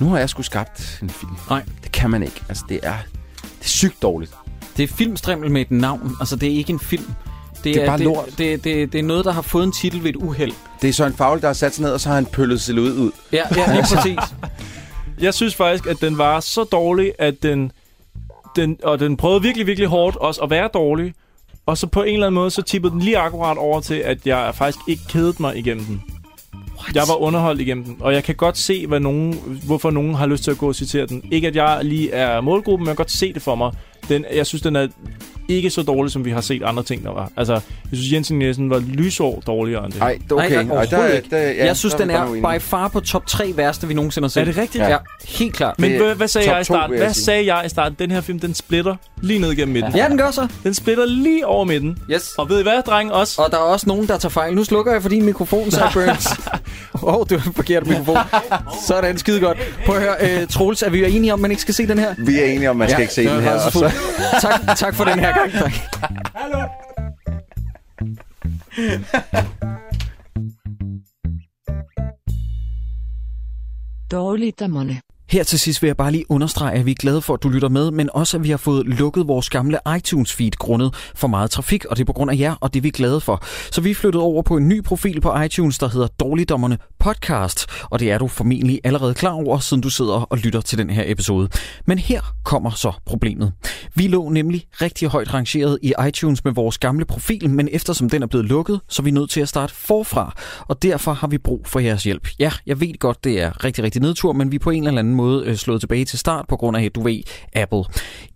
S7: nu har jeg sgu skabt en film.
S1: Nej.
S7: Det kan man ikke. Altså, det er, det er sygt dårligt.
S1: Det er filmstrimmel med et navn. Altså, det er ikke en film.
S7: Det er bare
S1: det,
S7: lort.
S1: Det, det, det er noget, der har fået en titel ved et uheld.
S7: Det er Søren Fagl, der har sat sig ned, og så har han pøllet silhuet ud.
S1: Ja, ja lige præcis.
S6: Jeg synes faktisk, at den var så dårlig, at den, den, og den prøvede virkelig, virkelig hårdt også at være dårlig. Og så på en eller anden måde, så tippede den lige akkurat over til, at jeg faktisk ikke kedede mig igennem den. What? Jeg var underholdt igennem den, og jeg kan godt se, hvad nogen, hvorfor nogen har lyst til at gå og citere den. Ikke at jeg lige er målgruppen, men jeg kan godt se det for mig. Den, jeg synes, den er ikke så dårligt, som vi har set andre ting, der var. Altså, jeg synes, Jensen Nielsen var lysår dårligere end det.
S7: Ej, okay.
S20: Nej, der,
S7: Ej,
S20: overhovedet ikke.
S7: der- ja,
S20: jeg synes,
S7: der
S20: den
S7: der
S20: er
S7: uenig.
S20: by far på top 3 værste, vi nogensinde har set.
S6: Er det rigtigt?
S20: Ja,
S6: Ja.
S20: helt klart.
S6: Men hvad, hvad sagde jeg i
S20: start?
S6: starten? Hvad sagde jeg i starten? Den her film, den splitter lige ned gennem midten.
S20: Ja, den gør så.
S6: Den splitter lige over midten.
S20: Yes.
S6: Og ved I hvad, drenge? Også.
S20: Og der er også nogen, der tager fejl. Nu slukker jeg for din mikrofon, Zach Burns. Åh, oh, det var en forkert mikrofon. Sådan, skide godt. Prøv at høre, uh, Troels, er vi jo enige om, at man ikke skal se den her?
S7: Vi er enige om, man skal ikke se
S20: det
S7: den
S20: var
S7: her. Og så,
S20: rædselsfuldt. tak, tak for den her gang. Tak.
S3: Dårligdommerne.
S1: Her til sidst vil jeg bare lige understrege, at vi er glade for, at du lytter med, men også at vi har fået lukket vores gamle iTunes-feed grundet for meget trafik, og det er på grund af jer, og det er vi glade for. Så vi er flyttet over på en ny profil på iTunes, der hedder Dårligdommerne Podcast, og det er du formentlig allerede klar over, siden du sidder og lytter til den her episode. Men her kommer så problemet. Vi lå nemlig rigtig højt rangeret i iTunes med vores gamle profil, men eftersom den er blevet lukket, så er vi nødt til at starte forfra, og derfor har vi brug for jeres hjælp. Ja, jeg ved godt, det er rigtig, rigtig nedtur, men vi er på en eller anden måde øh, slået tilbage til start på grund af, du ved, Apple.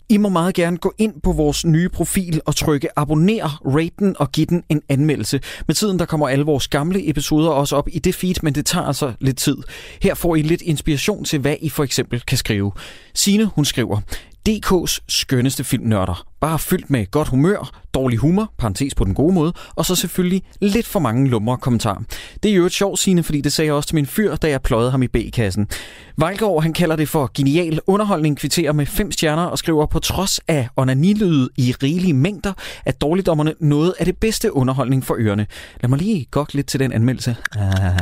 S1: I må meget gerne gå ind på vores nye profil og trykke abonner, rate den og give den en anmeldelse. Med tiden der kommer alle vores gamle episoder også op i det feed, men det tager altså lidt tid. Her får I lidt inspiration til, hvad I for eksempel kan skrive. Sine, hun skriver, DK's skønneste filmnørder. Bare fyldt med godt humør, dårlig humor, parentes på den gode måde, og så selvfølgelig lidt for mange lumre kommentarer. Det er jo et sjovt, Signe, fordi det sagde jeg også til min fyr, da jeg pløjede ham i B-kassen. Vejlgaard, han kalder det for genial underholdning, kvitterer med fem stjerner og skriver på trods af onanilyde i rigelige mængder, at dårligdommerne noget af det bedste underholdning for ørerne. Lad mig lige gokke lidt til den anmeldelse. Ah.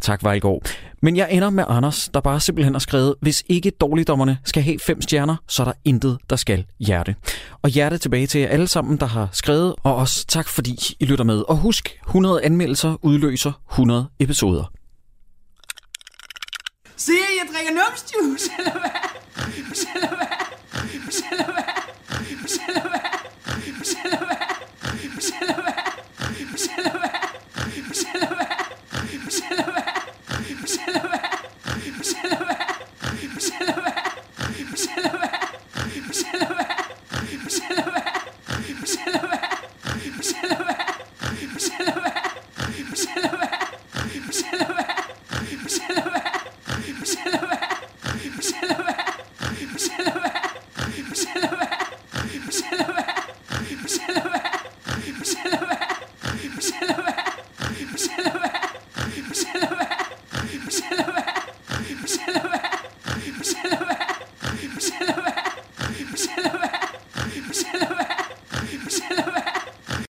S1: Tak, Vejlgaard. Men jeg ender med Anders, der bare simpelthen har skrevet, hvis ikke dårligdommerne skal have fem stjerner, så er der intet, der skal hjerte. Og hjerte tilbage til jer alle sammen, der har skrevet, og også tak, fordi I lytter med. Og husk, 100 anmeldelser udløser 100 episoder.
S21: Se, jeg drikker numsjuice, eller hvad? Eller hvad? Eller